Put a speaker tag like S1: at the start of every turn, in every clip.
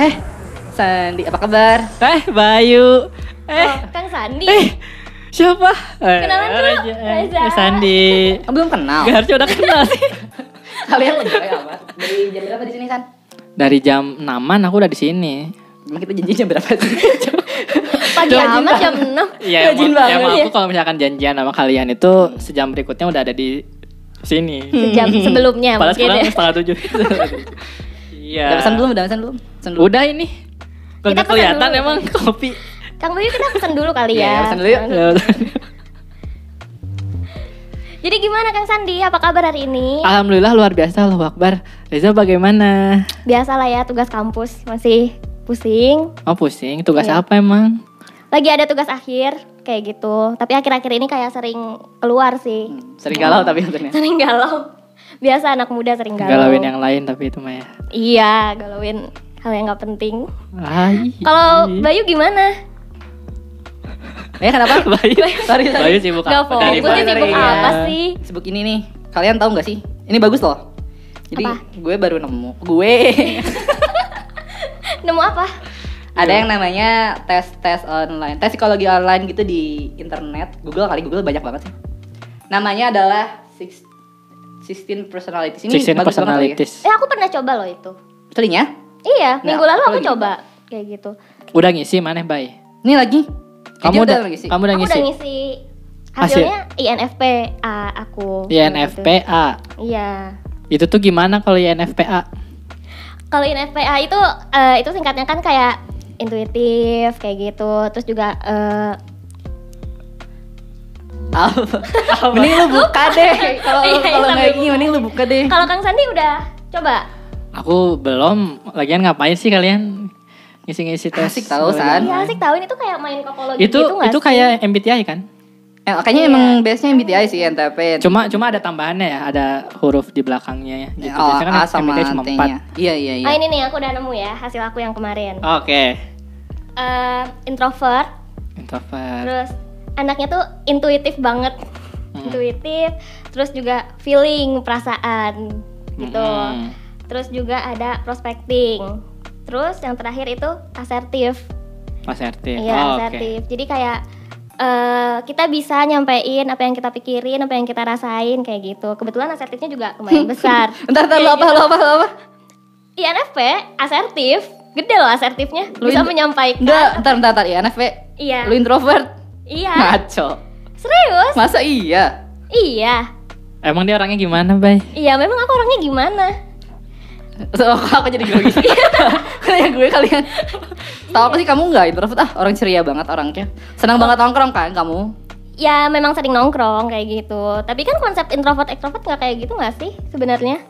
S1: Eh, Sandi, apa kabar?
S2: Eh, Bayu. Eh,
S3: Oh, Kang Sandi.
S2: eh, siapa? Eh,
S3: Kenalan dulu,
S2: Raja. Eh,
S3: Reza.
S2: Sandi.
S1: Oh, belum kenal.
S2: Gak harusnya udah kenal sih.
S1: Kalian lebih kayak apa? Dari jam berapa di sini, San?
S2: Dari jam 6-an aku udah di sini.
S1: Emang kita janji jam berapa sih?
S3: Pagi amat jam 6.
S2: Iya,
S1: Rajin
S2: emang,
S1: banget
S2: emang
S1: ya.
S2: aku kalau misalkan janjian sama kalian itu sejam berikutnya udah ada di
S1: Hmm,
S2: sini.
S3: Jam sebelumnya
S2: Padahal sekarang
S3: mungkin ya.
S2: setengah tujuh. Iya.
S1: Udah pesan belum? Udah pesan belum? Pesan dulu.
S2: Udah ini. Kagak
S3: Kita pesan
S2: kelihatan
S3: dulu.
S2: emang kopi.
S3: Kang Bayu kita pesan dulu
S1: Iya,
S3: kali ya.
S1: iya, pesan dulu yuk. Iya.
S3: Jadi gimana Kang Sandi? Apa kabar hari ini?
S2: Alhamdulillah luar biasa Allahu Akbar. Reza bagaimana?
S3: Biasalah ya tugas kampus masih pusing.
S2: Oh pusing, tugas
S3: Iya.
S2: apa emang?
S3: Lagi ada tugas akhir kayak gitu. Tapi akhir-akhir ini kayak sering keluar sih.
S2: Hmm.
S1: Sering galau tapi maksudnya.
S3: Sering galau. Biasa anak muda sering galau.
S2: Galauin yang lain tapi itu mah ya.
S3: Iya, galauin hal yang nggak penting.
S2: Ai.
S3: Kalau Bayu gimana?
S1: Eh, kenapa?
S2: Bayu,
S1: Sorry, sorry.
S2: Bayu sibuk
S3: Gak
S2: apa? Dari
S3: fokus,
S1: Dari- Dari-
S3: sibuk apa
S2: Iya.
S3: sih?
S1: Sibuk ini nih. Kalian tahu nggak sih? Ini bagus loh. Jadi
S3: Apa?
S1: gue baru nemu. Gue
S3: Nemu apa?
S2: Ya.
S1: ada yang namanya tes tes online, tes psikologi online gitu di internet. Google kali Google banyak banget sih. Namanya adalah six, 16 personalities. Ini
S2: Sixteen
S1: bagus banget kali ya.
S2: personalities.
S3: Eh aku pernah coba loh itu.
S1: Betul ya?
S3: Iya,
S1: Nah,
S3: minggu lalu
S1: apa
S3: aku
S1: lagi?
S3: coba kayak gitu.
S1: Eh.
S2: Udah ngisi mana, Bay?
S1: Ini lagi.
S2: Kamu
S1: Kayaknya
S2: udah,
S1: lagi sih. Ah,
S2: kamu udah
S3: aku
S2: ngisi.
S3: udah ngisi hasilnya INFPA aku. Kayak
S2: INFPA.
S3: gitu. Iya.
S2: Itu tuh gimana kalau INFPA?
S3: Kalau INFPA itu eh, itu singkatnya kan kayak intuitif kayak gitu. Terus juga eh,
S1: Apa? mending lu buka deh. Kalau
S3: Iya,
S1: kalau
S3: sambil
S1: nggak gini, mending lu buka deh.
S3: kalau Kang Sandi udah coba.
S2: Aku belum. Lagian ngapain sih kalian ngisi-ngisi tes?
S1: Asik tau, San.
S3: Iya asik tahu ini tuh kayak main kokologi
S2: Itu
S3: gitu nggak
S2: itu
S3: sih?
S2: kayak MBTI kan?
S1: Eh, kayaknya
S3: Iya.
S1: emang biasanya MBTI sih NTP.
S2: Cuma cuma ada tambahannya ya, ada huruf di belakangnya ya. Gitu.
S1: Oh,
S2: Biasanya kan
S1: A sama
S2: MBTI cuma empat.
S1: T-nya. Iya, iya, iya.
S3: Ah ini nih aku udah nemu ya hasil aku yang kemarin.
S1: Ah.
S2: Oke.
S3: Eh, introvert,
S1: Kan.
S2: Introvert. Hmm.
S3: terus anaknya tuh intuitif banget.
S1: Hmm.
S3: gitu, Intuitif, terus juga feeling, perasaan gitu.
S1: Hmm.
S2: Mm-mm.
S3: Terus juga ada prospecting. Terus yang terakhir itu asertif.
S2: Asertif.
S3: Iya,
S2: Oh, Oke.
S3: asertif. Jadi kayak eh, kita bisa nyampein apa yang kita pikirin, apa yang kita rasain kayak gitu. Kebetulan asertifnya juga lumayan besar.
S1: Entar, entar, lu apa, lu apa, lu apa?
S3: INFP asertif, gede loh asertifnya.
S1: Lu
S3: bisa
S1: in-
S3: menyampaikan.
S1: Enggak, entar, entar, entar, INFP.
S3: Iya.
S1: Lu introvert?
S3: Iya.
S1: Ngaco.
S3: Serius?
S1: Masa iya?
S3: Iya.
S2: Emang dia orangnya gimana, Bay?
S3: Iya, memang aku orangnya gimana?
S1: So, kok aku jadi grogi sih? Kayak gue kalian. Tahu aku sih kamu enggak introvert ah, orang ceria banget orangnya. Senang banget nongkrong kan kamu?
S3: Ya memang sering nongkrong kayak gitu. Tapi kan konsep introvert extrovert nggak kayak gitu nggak sih sebenarnya?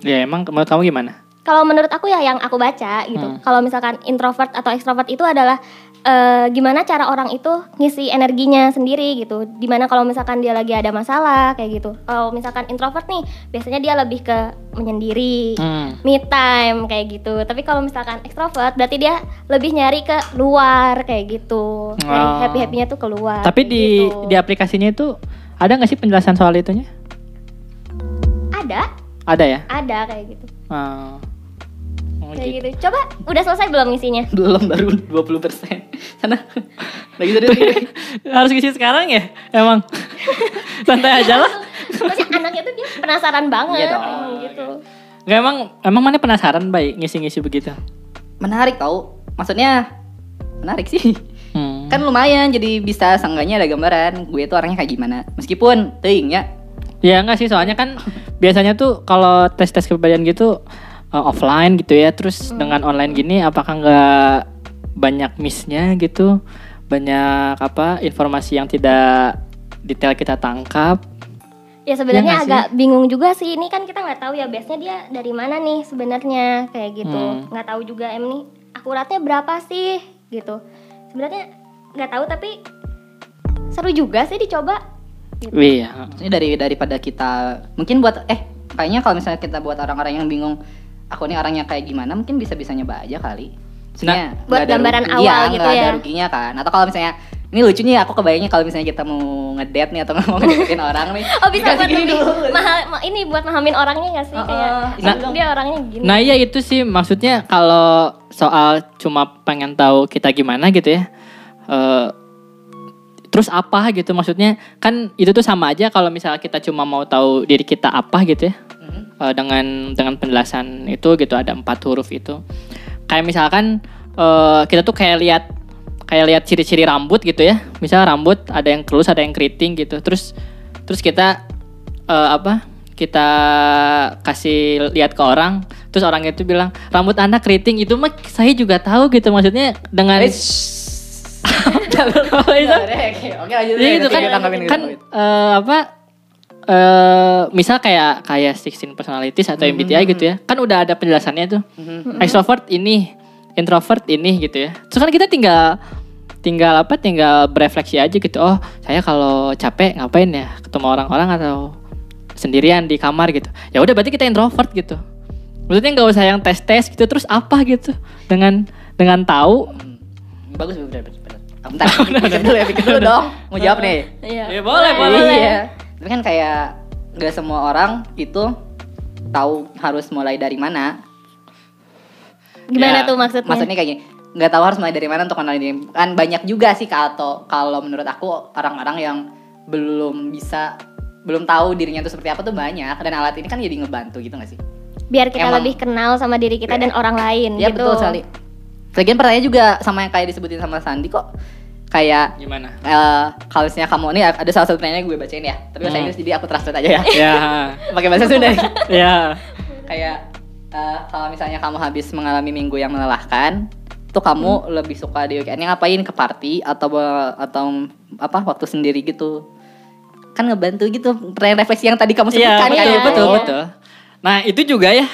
S2: Ya emang menurut kamu gimana?
S3: Kalau menurut aku ya yang aku baca gitu.
S2: Hmm.
S3: Kalau misalkan introvert atau extrovert itu adalah eh, gimana cara orang itu ngisi energinya sendiri gitu. Dimana kalau misalkan dia lagi ada masalah kayak gitu. Kalau misalkan introvert nih biasanya dia lebih ke menyendiri.
S2: Hmm.
S3: Me time kayak gitu. Tapi kalau misalkan extrovert berarti dia lebih nyari ke luar kayak gitu.
S2: Oh.
S3: Happy happynya tuh keluar.
S2: Tapi
S3: kayak
S2: di
S3: gitu.
S2: di aplikasinya itu ada nggak sih penjelasan soal itunya?
S3: ada
S2: Ada ya.
S3: ada kayak gitu.
S2: Oh. Oh,
S3: Kayak
S2: gitu.
S3: gitu. Coba udah selesai belum isinya?
S1: Belum baru 20%. Sana. Lagi serius.
S2: Harus ngisi sekarang ya? Emang. Santai aja lah.
S3: Maksudnya anaknya tuh dia penasaran banget
S1: Iya dong.
S3: hmm, gitu.
S2: Nggak emang emang mana penasaran baik ngisi-ngisi begitu?
S1: menarik tau maksudnya menarik sih
S2: Hmm.
S1: kan lumayan jadi bisa seenggaknya ada gambaran gue tuh orangnya kayak gimana meskipun ting ya
S2: Ya enggak sih soalnya kan biasanya tuh kalau tes-tes kepribadian gitu uh, offline gitu ya terus dengan online gini apakah nggak banyak miss-nya gitu banyak apa informasi yang tidak detail kita tangkap
S3: Ya sebenarnya
S2: nggak sih?
S3: agak bingung juga sih. Ini kan kita nggak tahu ya base-nya dia dari mana nih sebenarnya kayak gitu.
S2: Hmm.
S3: Nggak tahu juga em nih akuratnya berapa sih gitu. Sebenarnya nggak tahu tapi seru juga sih dicoba.
S2: Iya.
S1: Ini dari daripada kita mungkin buat eh kayaknya kalau misalnya kita buat orang-orang yang bingung aku nih orangnya kayak gimana mungkin bisa-bisa nyoba aja kali. Maksudnya,
S2: Nah,
S1: nggak
S3: buat
S1: ada
S3: gambaran
S1: rugi-
S3: awal
S1: iya,
S3: gitu
S1: nggak ada
S3: ya.
S1: ruginya kan. Atau kalau misalnya ini lucu nih aku kebayangnya kalau misalnya kita mau ngedate nih atau mau ngedeketin orang nih. gitu.
S3: Oh bisa
S1: dikasih
S3: buat
S1: gini
S3: lebih
S1: dulu.
S3: mahal ma- ini buat mahamin orangnya nggak sih
S1: Oh,
S3: kayak
S1: oh,
S2: Nah,
S3: dia orangnya gini.
S2: Nah iya itu sih maksudnya kalau soal cuma pengen tahu kita gimana gitu ya. eh, terus apa gitu maksudnya kan itu tuh sama aja kalau misalnya kita cuma mau tahu diri kita apa gitu ya.
S1: Mhm.
S2: Eh, dengan dengan penjelasan itu gitu ada empat huruf itu. Kayak misalkan eh, kita tuh kayak lihat kayak lihat ciri-ciri rambut gitu ya. Misal rambut ada yang kelus, ada yang keriting gitu. Terus terus kita eh, apa? Kita kasih lihat ke orang, terus orang itu bilang rambut anak keriting itu mah saya juga tahu gitu maksudnya dengan
S1: Eh,
S2: Apa itu?
S1: Oke, oke lanjut.
S2: Iya gitu kan,
S1: Kita tanggapin gitu.
S2: kan eh, apa eh misal kayak kayak 16 personalities atau MBTI
S1: Mm-hmm.
S2: gitu ya kan udah ada penjelasannya tuh
S1: Mhm.
S2: extrovert ini introvert ini gitu ya terus kan kita tinggal tinggal apa tinggal berefleksi aja gitu oh saya kalau capek ngapain ya ketemu orang-orang atau sendirian di kamar gitu ya udah berarti kita introvert gitu maksudnya nggak usah yang tes tes gitu terus apa gitu dengan dengan tahu
S1: Hmm, Bagus bener bener. bener. Ah, Bentar, pikir dulu ya, pikir dulu dong. Mau jawab nih.
S2: Ya, boleh, boleh.
S1: Iya. Tapi kan kayak nggak semua orang itu tahu harus mulai dari mana.
S3: Gimana
S2: Ya,
S3: tuh maksudnya?
S1: Maksudnya kayak gini, nggak tahu harus mulai dari mana untuk kenalin diri. Kan banyak juga sih kalau kalau menurut aku orang-orang yang belum bisa belum tahu dirinya itu seperti apa tuh banyak dan alat ini kan jadi ngebantu gitu gak sih?
S3: Biar kita
S1: emang-
S3: lebih kenal sama diri kita
S2: Ya.
S3: dan orang lain
S1: Iya
S3: gitu.
S1: betul sekali. Lagian pertanyaan juga sama yang kayak disebutin sama Sandi kok kayak
S2: gimana
S1: eh, kalau misalnya kamu ini ada salah satu pertanyaan yang gue bacain ya, tapi bahasa
S2: Hmm.
S1: Inggris jadi aku translate aja ya.
S2: ya
S1: Pakai bahasa Sunda nih.
S2: ya
S1: kayak eh, kalau misalnya kamu habis mengalami minggu yang melelahkan tuh
S2: Hmm.
S1: kamu lebih suka di weekendnya ngapain ke party atau atau apa waktu sendiri gitu kan ngebantu gitu pertanyaan refleksi yang tadi kamu
S2: Iya
S1: sebutkan kan
S2: betul
S3: iya,
S2: betul
S3: iya.
S2: betul. Nah itu juga ya.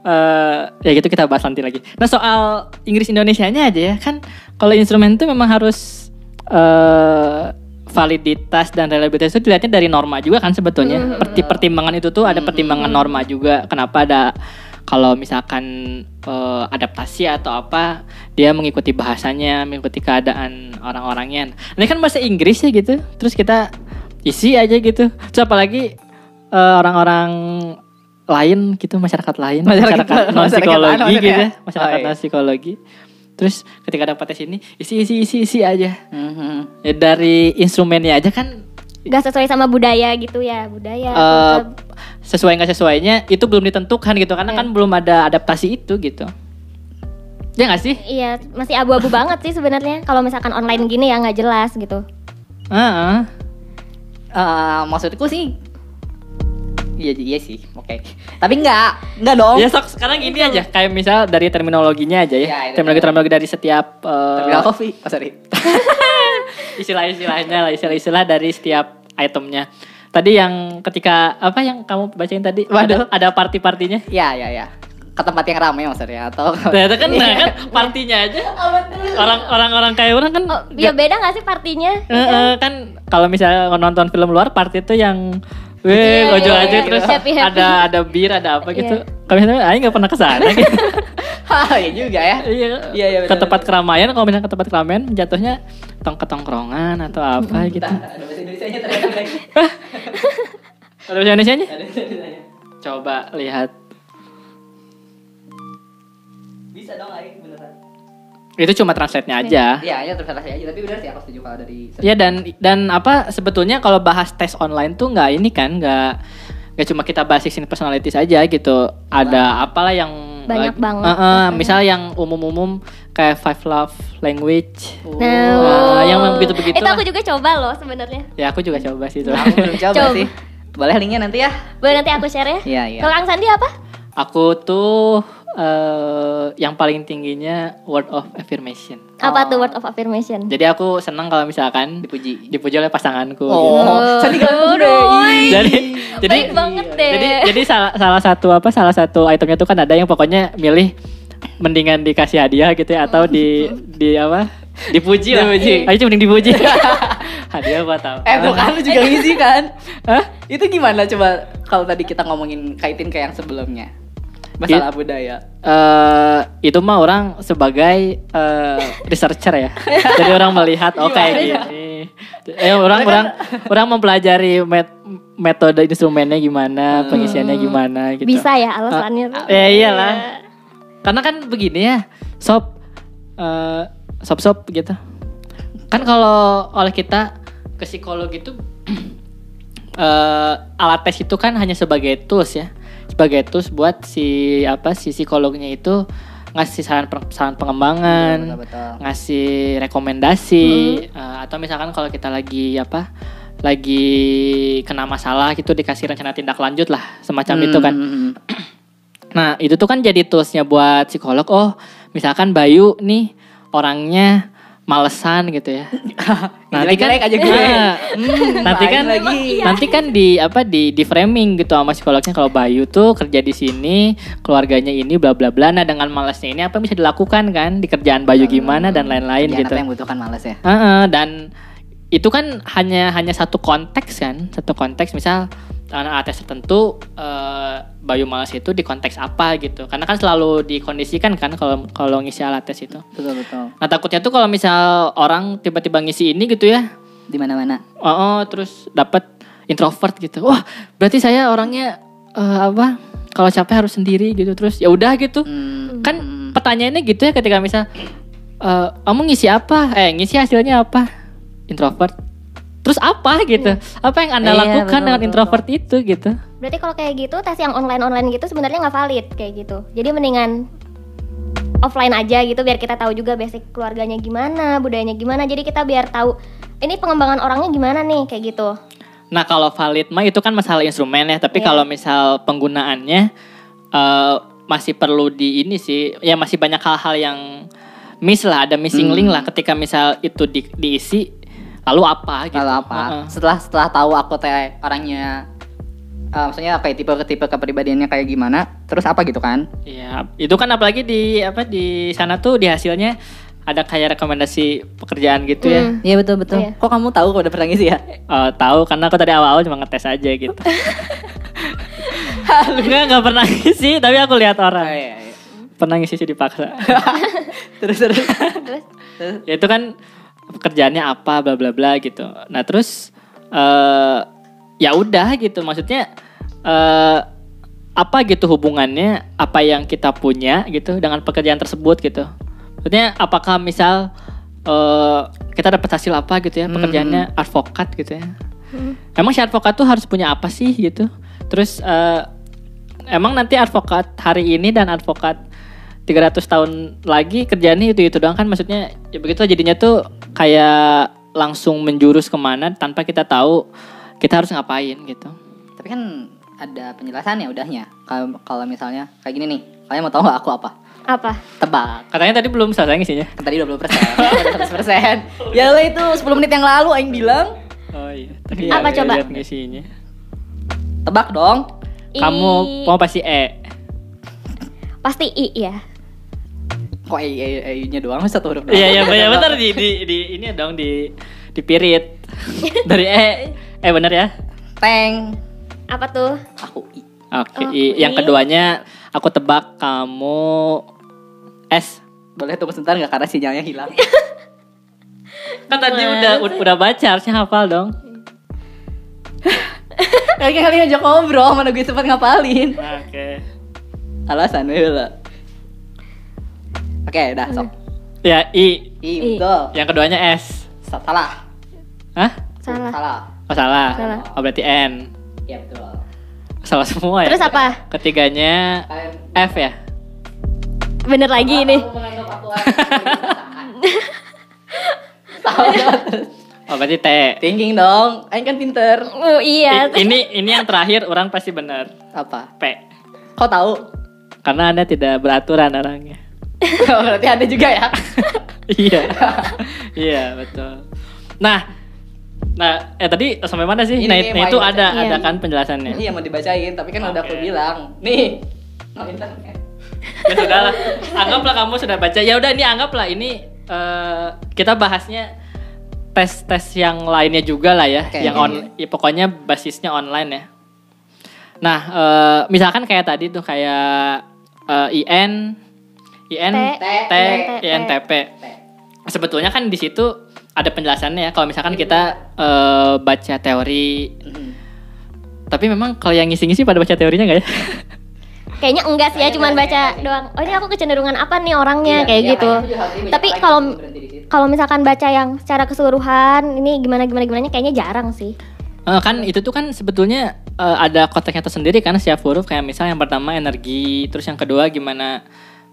S2: eh, ya gitu kita bahas nanti lagi. Nah soal Inggris Indonesianya aja ya kan kalau instrumen itu memang harus eh validitas dan reliabilitas itu dilihatnya dari norma juga kan sebetulnya.
S1: Mm-hmm.
S2: Perti- pertimbangan itu tuh ada pertimbangan
S1: Hmm.
S2: norma juga. Kenapa ada kalau misalkan eh, adaptasi atau apa dia mengikuti bahasanya, mengikuti keadaan orang-orangnya. Ini kan bahasa Inggris ya gitu. Terus kita isi aja gitu. Terus apalagi eh, orang-orang lain gitu masyarakat lain
S1: Masyarakat-
S2: masyarakat,
S1: masyarakat
S2: non
S1: lain
S2: psikologi
S1: maksudnya.
S2: gitu ya masyarakat
S1: Oh, iya.
S2: non psikologi terus ketika dapat tes ini isi isi isi isi aja
S1: Mhm.
S2: Ya, dari instrumennya aja kan
S3: Gak sesuai sama budaya gitu ya budaya.
S2: eh,
S3: konsep.
S2: sesuai nggak sesuainya itu belum ditentukan gitu karena
S1: Iya.
S2: kan belum ada adaptasi itu gitu ya nggak sih
S3: Iya, masih abu-abu banget sih sebenarnya. Kalau misalkan online gini ya nggak jelas gitu.
S2: Heeh.
S1: Eh, maksudku sih iya iya sih oke tapi nggak nggak dong
S2: ya sok sekarang ini aja kayak misal dari terminologinya aja
S1: Ya,
S2: ya
S1: itu.
S2: terminologi terminologi dari setiap eh,
S1: tapi nggak kopi oh, sorry
S2: istilah-istilahnya lah istilah-istilah dari setiap itemnya tadi yang ketika apa yang kamu bacain tadi
S1: Waduh.
S2: ada, ada party-partinya
S1: ya ya ya ke tempat yang ramai maksudnya atau
S2: ternyata kan nah, kan partinya aja orang orang orang kayak orang kan
S3: Oh, ya beda nggak sih partinya?
S2: Eh, eh,
S3: Iya
S2: kan kalau misalnya nonton film luar party itu yang Weh,
S3: Iya,
S2: ngojol
S3: iya,
S2: aja
S3: iya,
S2: terus
S3: happy, happy.
S2: ada ada bir, ada apa gitu.
S3: Iya.
S2: Kalau misalnya aing nggak pernah ke sana gitu.
S1: Hah, ya juga ya
S2: Iya,
S1: Iya, iya,
S2: ke
S1: betul,
S2: tempat keramaian kalau misalnya ke tempat keramaian jatuhnya tong ke tongkrongan atau apa gitu.
S1: Bentar, ada bahasa Indonesia ternyata lagi
S2: Kalau bahasa Indonesianya?
S1: ada bahasa Indonesianya.
S2: Coba lihat.
S1: bisa dong Aik beneran
S2: Itu cuma translate-nya aja.
S1: Iya, ya translasi aja. Tapi benar sih aku setuju kalau dari
S2: Ya dan dan apa sebetulnya kalau bahas tes online tuh nggak ini kan nggak nggak cuma kita bahas 16 personalities aja gitu. Ada apalah yang
S3: Banyak
S2: lagi-
S3: banget. gitu ya.
S2: Eh, eh, misal yang umum-umum kayak Five Love Language.
S1: Oh,
S3: Nah,
S2: Wah, yang begitu-begitu
S3: Itu
S2: lah.
S3: aku juga coba loh sebenarnya.
S2: Ya aku juga coba sih itu.
S1: aku belum coba
S3: Coba.
S1: sih. Boleh linknya nanti ya.
S3: Boleh nanti aku share ya.
S1: Iya, iya.
S3: Kalau Kang Sandi apa?
S2: aku tuh eh, yang paling tingginya word of affirmation.
S3: Apa tuh word of affirmation?
S2: Jadi aku senang kalau misalkan
S1: dipuji.
S2: dipuji oleh pasanganku. gitu.
S1: Oh, tadi kan doi.
S2: Jadi jadi
S3: Baik banget deh.
S2: jadi
S1: Eh.
S2: jadi salah salah satu apa salah satu itemnya tuh kan ada yang pokoknya milih mendingan dikasih hadiah gitu ya atau di di apa? Dipuji lah.
S1: Dipuji.
S2: Ayo mending dipuji. hadiah buat apa?
S1: Eh bukan lu juga ngisi kan?
S2: Hah?
S1: Itu gimana coba kalau tadi kita ngomongin kaitin ke yang sebelumnya? Masalah budaya.
S2: eh itu mah orang sebagai eh, researcher ya. Jadi orang melihat oh
S1: Gimana
S2: kayak gini. Eh orang orang orang mempelajari met- metode instrumennya
S1: Hmm.
S2: gimana, pengisiannya gimana gitu.
S3: Bisa ya alasannya. Iya.
S2: Ah, ya iyalah. Karena kan begini ya, sob eh, sob-sob gitu. Kan kalau oleh kita ke psikolog itu eh, alat tes itu kan hanya sebagai tools ya. Sebagai tools buat si apa si psikolognya itu ngasih saran per- saran pengembangan,
S1: Iya, Hmm. betul-betul.
S2: ngasih rekomendasi eh, atau misalkan kalau kita lagi apa lagi kena masalah gitu dikasih rencana tindak lanjut lah semacam itu kan.
S1: Hmm.
S2: Nah itu tuh kan jadi toolsnya buat psikolog. Oh misalkan Bayu nih orangnya malesan gitu ya. nanti kan
S1: Jelek-jelek aja gue.
S2: Ah, hmm, nanti kan
S1: Lain lagi.
S2: nanti kan di apa di di framing gitu sama psikolognya kalau Bayu tuh kerja di sini keluarganya ini bla bla bla. Nah dengan malesnya ini apa yang bisa dilakukan kan di kerjaan Bayu gimana dan lain-lain
S1: Kerjaan
S2: gitu.
S1: apa yang Iya, butuhkan males ya?
S2: Heeh, dan itu kan hanya hanya satu konteks kan, satu konteks misal anak atas tertentu eh, Bayu Malas itu di konteks apa gitu. Karena kan selalu dikondisikan kan kalau kalau ngisi alat tes itu.
S1: Betul betul.
S2: Nah, takutnya tuh kalau misal orang tiba-tiba ngisi ini gitu ya.
S1: Di mana-mana.
S2: Oh, oh, terus dapat introvert gitu. Wah, berarti saya orangnya eh, apa? Kalau capek harus sendiri gitu terus ya udah gitu
S1: Hmm.
S2: kan pertanyaannya gitu ya ketika misal eh, kamu ngisi apa eh ngisi hasilnya apa introvert terus apa gitu apa yang anda
S1: Iya,
S2: lakukan
S1: betul,
S2: dengan
S1: betul,
S2: introvert itu gitu
S3: Berarti kalau kayak gitu tes yang online-online gitu sebenarnya nggak valid kayak gitu. Jadi mendingan offline aja gitu biar kita tahu juga basic keluarganya gimana, budayanya gimana. Jadi kita biar tahu ini pengembangan orangnya gimana nih kayak gitu.
S2: nah kalau valid mah itu kan masalah instrumen ya tapi
S3: Iya.
S2: kalau misal penggunaannya eh, masih perlu di ini sih ya masih banyak hal-hal yang miss lah ada missing link lah ketika misal itu di- diisi lalu apa gitu
S1: Kalau apa?
S2: Heeh.
S1: Setelah setelah tahu aku teh orangnya eh, maksudnya kayak tipe tipe kepribadiannya kayak gimana, terus apa gitu kan?
S2: Iya, itu kan apalagi di apa di sana tuh di hasilnya ada kayak rekomendasi pekerjaan gitu ya.
S1: Iya betul betul.
S3: Iya.
S1: Kok kamu tahu kok udah pernah ngisi ya?
S2: Eh, tahu karena aku tadi awal-awal cuma ngetes aja gitu. Enggak, enggak pernah ngisi, tapi aku lihat orang.
S1: iya, iya.
S2: Pernah ngisi sih dipaksa.
S1: terus terus.
S3: Terus
S2: ya itu kan pekerjaannya apa bla bla bla gitu. Nah, terus eh ya udah gitu. Maksudnya eh apa gitu hubungannya apa yang kita punya gitu dengan pekerjaan tersebut gitu. Maksudnya apakah misal eh kita dapat hasil apa gitu ya pekerjaannya advokat gitu ya. Emang si advokat tuh harus punya apa sih gitu? Terus eh, emang nanti advokat hari ini dan advokat 300 tahun lagi kerjaannya itu itu doang kan maksudnya ya begitu jadinya tuh kayak langsung menjurus kemana tanpa kita tahu kita harus ngapain gitu.
S1: Tapi kan ada penjelasan ya udahnya. Kalau kalau misalnya kayak gini nih, kalian mau tahu nggak aku apa?
S3: apa?
S1: Tebak.
S2: Katanya tadi belum selesai isinya.
S1: Kan tadi 20 persen, 100 persen. Ya lah itu 10 menit yang lalu Aing bilang
S2: Oh iya.
S1: Tadi
S3: Apa coba?
S2: lihat isinya.
S1: tebak dong.
S2: Kamu
S3: I-
S2: mau pasti E.
S3: pasti i ya.
S1: Kok EU-nya doang satu huruf doang?
S2: Iya iya benar benar di, di di ini ya dong di di pirit dari E. Eh benar ya?
S1: Teng.
S3: Apa tuh?
S1: Aku I.
S2: Oke.
S3: Oke.
S2: I- Yang keduanya aku tebak kamu S.
S1: Boleh tunggu sebentar nggak karena sinyalnya hilang.
S2: Kan tadi udah udah baca harusnya hafal dong.
S1: Kayaknya kalian ngajak ngobrol, mana gue sempat ngapalin.
S2: Oke.
S1: Alasan dulu. Oke, udah sok.
S2: Ya I.
S1: I, betul.
S2: Yang keduanya S.
S1: Salah.
S2: Hah?
S3: Salah.
S1: Salah.
S2: Oh salah.
S3: Salah.
S2: Oh berarti N.
S1: Iya, betul.
S2: Salah semua ya.
S3: Terus apa?
S2: Ketiganya
S1: Kalian
S2: F ya.
S3: Bener lagi ini.
S1: Aku menganggap aku Salah.
S2: Oh berarti T.
S3: Iya.
S1: Thinking dong. Aing kan pinter.
S3: Oh iya.
S2: I- ini ini yang terakhir orang pasti benar.
S1: Apa?
S2: P.
S1: Kau tahu?
S2: Karena Anda tidak beraturan orangnya.
S1: Oh, Berarti ada juga ya.
S2: Iya. Iya, betul. Nah, Nah, eh tadi sampai mana sih?
S1: Ini
S2: nah,
S1: nih,
S2: nah, itu
S1: Mai.
S2: ada
S3: Iya.
S2: ada kan penjelasannya.
S1: Iya mau dibacain, tapi kan udah aku
S2: Oke.
S1: bilang. Nih, no internet.
S2: ya sudahlah anggaplah kamu sudah baca ya udah ini anggaplah ini eh, kita bahasnya tes tes yang lainnya juga lah ya
S1: Oke.
S2: yang on ya, pokoknya basisnya online ya nah eh, misalkan kayak tadi tuh kayak eh, IN IN
S3: T,
S2: T
S3: T,
S2: INTP sebetulnya kan di situ ada penjelasannya ya kalau misalkan kita eh, baca teori
S1: Mm.
S2: tapi memang kalau yang ngisi-ngisi pada baca teorinya nggak ya
S3: Kayaknya enggak sih ya,
S1: Kayaknya
S3: cuman
S1: enggak,
S3: baca
S1: kayaknya.
S3: doang. Oh ini aku kecenderungan apa nih orangnya
S1: Iya,
S3: kayak
S1: iya,
S3: gitu.
S1: kayaknya aku juga harusnya
S3: Tapi
S1: banyak
S3: kalau-
S1: lagi berhenti di situ.
S3: Kalau misalkan baca yang secara keseluruhan, ini gimana gimana gimana kayaknya jarang sih.
S2: Eh, kan itu tuh kan sebetulnya eh, ada konteksnya tersendiri kan setiap huruf kayak misal yang pertama energi terus yang kedua gimana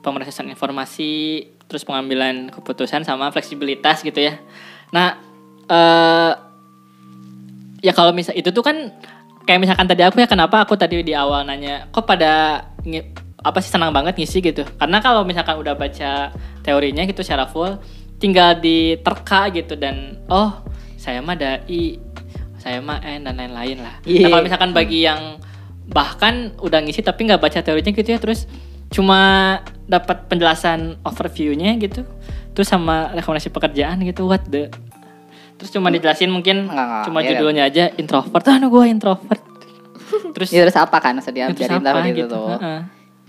S2: pemrosesan informasi terus pengambilan keputusan sama fleksibilitas gitu ya nah eh ya kalau misal itu tuh kan kayak misalkan tadi aku ya kenapa aku tadi di awal nanya kok pada nge- apa sih senang banget ngisi gitu karena kalau misalkan udah baca teorinya gitu secara full tinggal diterka gitu dan oh saya mah ada i saya mah n dan lain-lain lah
S1: Iya.
S2: nah, kalau misalkan bagi yang bahkan udah ngisi tapi nggak baca teorinya gitu ya terus cuma dapat penjelasan overviewnya gitu terus sama rekomendasi pekerjaan gitu what the terus cuma dijelasin mungkin
S1: Nggak, nggak,
S2: cuma
S1: iya.
S2: judulnya aja introvert ah gue introvert terus
S1: Ya, terus apa kan maksudnya
S2: terus
S1: dari tahu
S2: apa
S1: gitu, tuh.
S2: Heeh.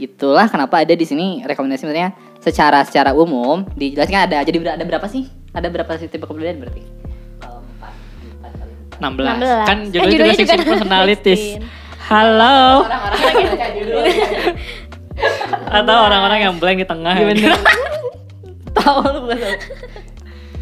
S1: Itulah kenapa ada di sini rekomendasi sebenarnya secara secara umum dijelaskan ada. Jadi ada berapa sih? Ada berapa sih tipe kepribadian berarti? Kalau empat, empat kali
S2: 16.
S3: 16.
S2: kan
S3: Kan
S2: judulnya,
S3: judulnya
S2: juga
S3: juga
S2: sexy
S3: ada.
S2: personalities
S3: Sixteen.
S2: halo
S1: Orang-orang lagi baca judul.
S2: atau orang-orang yang blank di tengah
S1: Iya, bener. Tahu lu bukan tahu.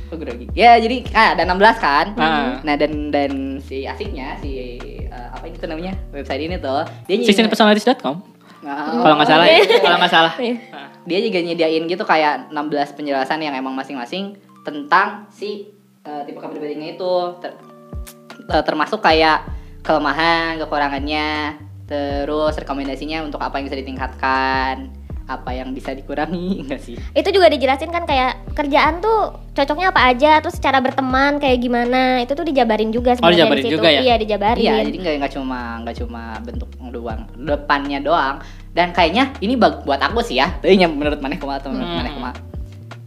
S1: Aku grogi. Ya jadi ah, ada 16 kan.
S2: Ah.
S1: Nah dan dan si asiknya si eh, apa itu namanya website ini tuh dia nyi-
S2: sixteenpersonalities.com
S1: Nah,
S2: kalau nggak salah ya
S3: Oke.
S2: kalau nggak salah
S3: Iya.
S2: Heeh.
S1: dia juga nyediain gitu kayak 16 penjelasan yang emang masing-masing tentang si eh, tipe kepribadiannya itu Ter- eh, termasuk kayak kelemahan, kekurangannya, terus rekomendasinya untuk apa yang bisa ditingkatkan, apa yang bisa dikurangi enggak sih?
S3: Itu juga dijelasin kan kayak kerjaan tuh cocoknya apa aja, terus cara berteman kayak gimana, itu tuh dijabarin juga sebenarnya
S2: dijabarin
S3: di situ.
S2: juga ya?
S3: Iya, dijabarin.
S1: Iya, jadi nggak nggak cuma nggak cuma bentuk doang depannya doang. Dan kayaknya ini bag- buat aku sih ya. Tapi nya- menurut maneh kumaha atau menurut
S2: Hmm.
S1: maneh kumaha.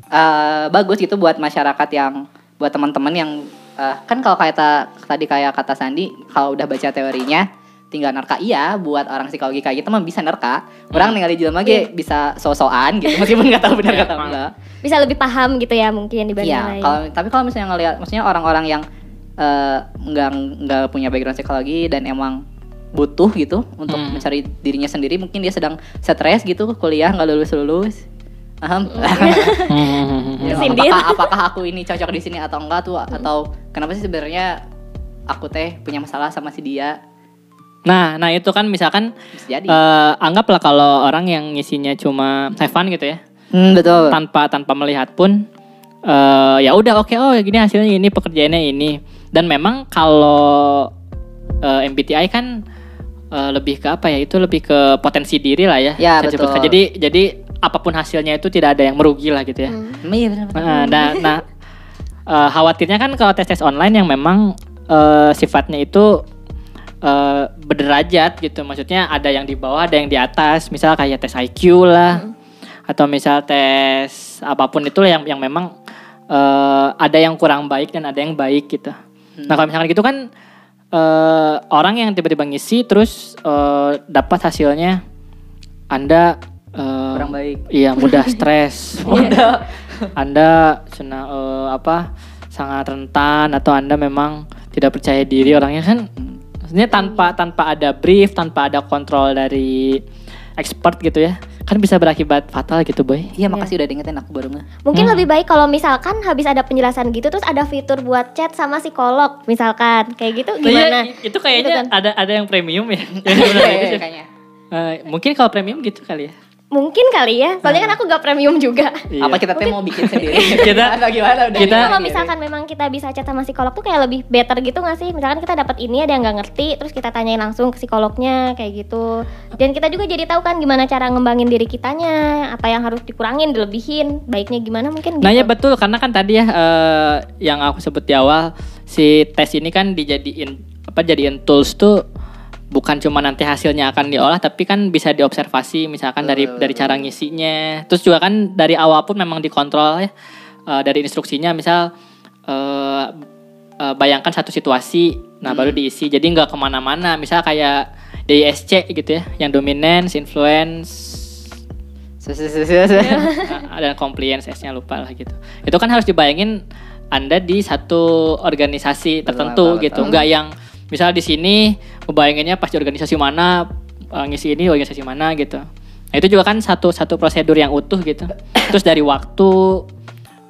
S1: Eh, bagus gitu buat masyarakat yang buat teman-teman yang eh, kan kalau kata tadi kayak kata Sandi kalau udah baca teorinya tinggal nerka iya buat orang psikologi kayak gitu mah bisa nerka orang tinggal di lagi bisa so-soan gitu meskipun nggak tahu benar
S2: Hmm. Iya,
S1: kata
S2: emang.
S1: enggak
S3: Bisa lebih paham gitu ya mungkin dibanding yang
S1: Iya,
S3: lain.
S1: kalau tapi kalau misalnya ngelihat, maksudnya orang-orang yang eh, nggak nggak punya background psikologi dan emang butuh gitu untuk
S2: Hmm.
S1: mencari dirinya sendiri, mungkin dia sedang stres gitu kuliah nggak lulus lulus.
S3: Iya. Sindir.
S1: Ya, apakah, apakah aku ini cocok di sini atau enggak tuh atau kenapa sih sebenarnya aku teh punya masalah sama si dia
S2: nah nah itu kan misalkan
S1: bisa jadi
S2: eh, anggaplah kalau orang yang ngisinya cuma have fun gitu ya
S1: Hmm, betul
S2: tanpa tanpa melihat pun eh, ya udah oke oh gini hasilnya ini pekerjaannya ini dan memang kalau eh, MBTI kan eh, lebih ke apa ya itu lebih ke potensi diri lah ya,
S1: Ya,
S2: Saya
S1: betul.
S2: sebutkan. jadi jadi apapun hasilnya itu tidak ada yang merugi lah gitu ya
S3: Hmm.
S1: Hmm, iya benar benar.
S2: Nah, nah, nah, eh, khawatirnya kan kalau tes tes online yang memang eh, sifatnya itu eh, berderajat gitu, maksudnya ada yang di bawah, ada yang di atas. Misal kayak tes IQ lah,
S1: Hmm.
S2: atau misal tes apapun itu yang yang memang eh, ada yang kurang baik dan ada yang baik gitu.
S1: Hmm.
S2: Nah kalau misalkan gitu kan eh, orang yang tiba-tiba ngisi terus eh, dapat hasilnya anda eh,
S1: Kurang baik.
S2: Iya mudah stres. Mudah. anda sena, eh, apa sangat rentan atau anda memang tidak percaya diri orangnya kan? Maksudnya tanpa tanpa ada brief, tanpa ada kontrol dari expert gitu ya, kan bisa berakibat fatal gitu boy.
S1: Iya makasih udah diingetin aku baru nge.
S3: Mungkin
S2: Hmm.
S3: lebih baik kalau misalkan habis ada penjelasan gitu terus ada fitur buat chat sama psikolog misalkan kayak gitu
S2: Iya,
S3: gimana?
S2: i- itu
S1: kan?
S2: kayaknya
S3: Gitu
S2: Iya, ada ada yang premium ya. Yang beneran gitu sih.
S1: kayaknya.
S2: Eh, mungkin kalau premium gitu kali ya.
S3: mungkin kali ya soalnya
S2: Nah.
S3: kan aku gak premium juga
S2: Iya.
S1: Apa kita teh mau bikin sendiri?
S2: Kita-
S1: Atau gimana udah
S2: kita- Iya,
S1: bikin
S3: kalau
S1: sendiri?
S3: misalkan memang kita bisa chat sama psikolog tuh kayak lebih better gitu gak sih misalkan kita dapat ini ada yang nggak ngerti terus kita tanyain langsung ke psikolognya kayak gitu dan kita juga jadi tahu kan gimana cara ngembangin diri kitanya apa yang harus dikurangin dilebihin baiknya gimana mungkin gitu
S2: Nah ya betul karena kan tadi ya eh, yang aku sebut di awal si tes ini kan dijadiin apa jadiin tools tuh bukan cuma nanti hasilnya akan diolah tapi kan bisa diobservasi misalkan dari
S1: Betul,
S2: dari cara ngisinya terus juga kan dari awal pun memang dikontrol ya eh, dari instruksinya misal eh, eh, bayangkan satu situasi nah
S1: Hmm.
S2: baru diisi jadi nggak kemana-mana misal kayak DISC gitu ya yang dominance influence
S1: Sus, sus, sus, sus.
S2: Nah, ada compliance S-nya lupa lah gitu. Itu kan harus dibayangin Anda di satu organisasi
S1: betul,
S2: tertentu gitu,
S1: betul.
S2: nggak yang misal di sini ngebayanginnya pas di organisasi mana eh, ngisi ini organisasi mana gitu. Nah, itu juga kan satu satu prosedur yang utuh gitu. Terus dari waktu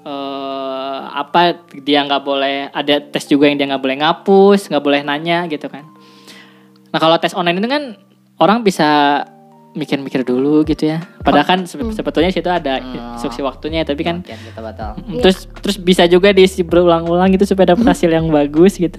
S2: eh, apa dia nggak boleh ada tes juga yang dia nggak boleh ngapus, nggak boleh nanya gitu kan. Nah kalau tes online itu kan orang bisa mikir-mikir dulu gitu ya. Padahal kan sebe- sebetulnya situ ada
S1: Hmm.
S2: instruksi waktunya, tapi kan
S1: Oke, kita batal.
S3: Iya.
S2: Mm, terus terus bisa juga diisi berulang-ulang gitu supaya dapat hasil yang bagus gitu.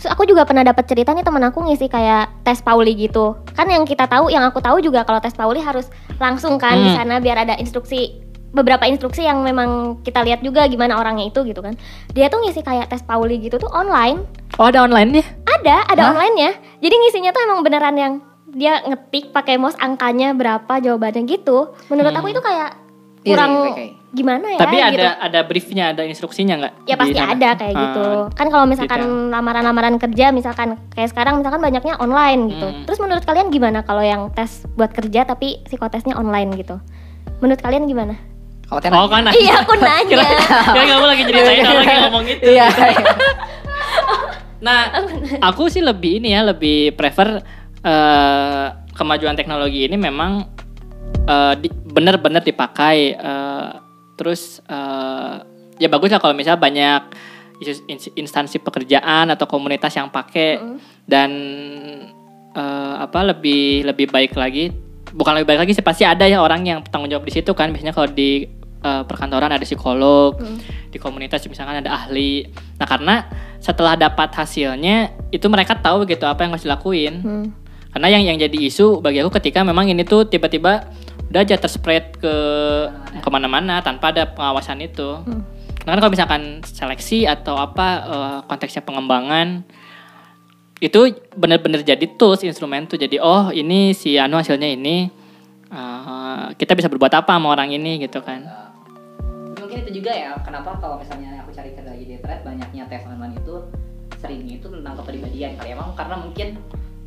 S3: Terus aku juga pernah dapat cerita nih temen aku ngisi kayak tes Pauli gitu. Kan yang kita tahu, yang aku tahu juga kalau tes Pauli harus langsung kan di
S2: Hmm.
S3: sana biar ada instruksi beberapa instruksi yang memang kita lihat juga gimana orangnya itu gitu kan. Dia tuh ngisi kayak tes Pauli gitu tuh online.
S2: Oh ada online-nya?
S3: Ada, ada
S2: Hah?
S3: online-nya. Jadi ngisinya tuh emang beneran yang dia ngetik pakai mouse angkanya berapa jawabannya gitu. Menurut aku itu kayak
S1: Iya,
S3: kurang
S1: iya, kayak-
S3: gimana ya
S2: Hmm. Tapi
S3: gitu.
S2: ada ada briefnya, ada instruksinya nggak?
S3: Ya
S2: di
S3: pasti
S2: sana?
S3: ada kayak
S2: Ah,
S3: gitu. Kan kalau misalkan lamaran-lamaran kerja misalkan kayak sekarang misalkan banyaknya online gitu.
S2: Hmm.
S3: Terus menurut kalian gimana kalau yang tes buat kerja tapi psikotesnya online gitu? Menurut kalian gimana?
S1: Kalau teh
S2: Oh
S1: nanya.
S2: kan?
S3: iya, aku nanya.
S2: Kira kamu lagi ceritain orang yang ngomong gitu.
S1: Iya.
S3: Oh,
S2: Nah, aku sih lebih ini ya, lebih prefer eh, kemajuan teknologi ini memang eh, di- bener-bener dipakai. eh, terus eh, ya bagus lah kalau misalnya banyak isu- ins- instansi pekerjaan atau komunitas yang pakai dan eh, apa lebih lebih baik lagi. Bukan lebih baik lagi sih pasti ada ya orang yang tanggung jawab di situ kan. Biasanya kalau di eh, perkantoran ada psikolog, di komunitas misalkan ada ahli. Nah, karena setelah dapat hasilnya itu mereka tahu gitu apa yang harus dilakuin.
S3: Hmm.
S2: Karena yang yang jadi isu bagi aku ketika memang ini tuh tiba-tiba udah aja terspread ke kemana-mana tanpa ada pengawasan itu.
S3: Hmm.
S2: Nah, kan kalau misalkan seleksi atau apa eh, konteksnya pengembangan itu benar-benar jadi tools instrumen tuh jadi oh ini si Anu hasilnya ini eh, kita bisa berbuat apa sama orang ini gitu kan.
S1: mungkin itu juga ya kenapa kalau misalnya aku cari kerja di Detret banyaknya tes online itu seringnya itu tentang kepribadian kali emang karena mungkin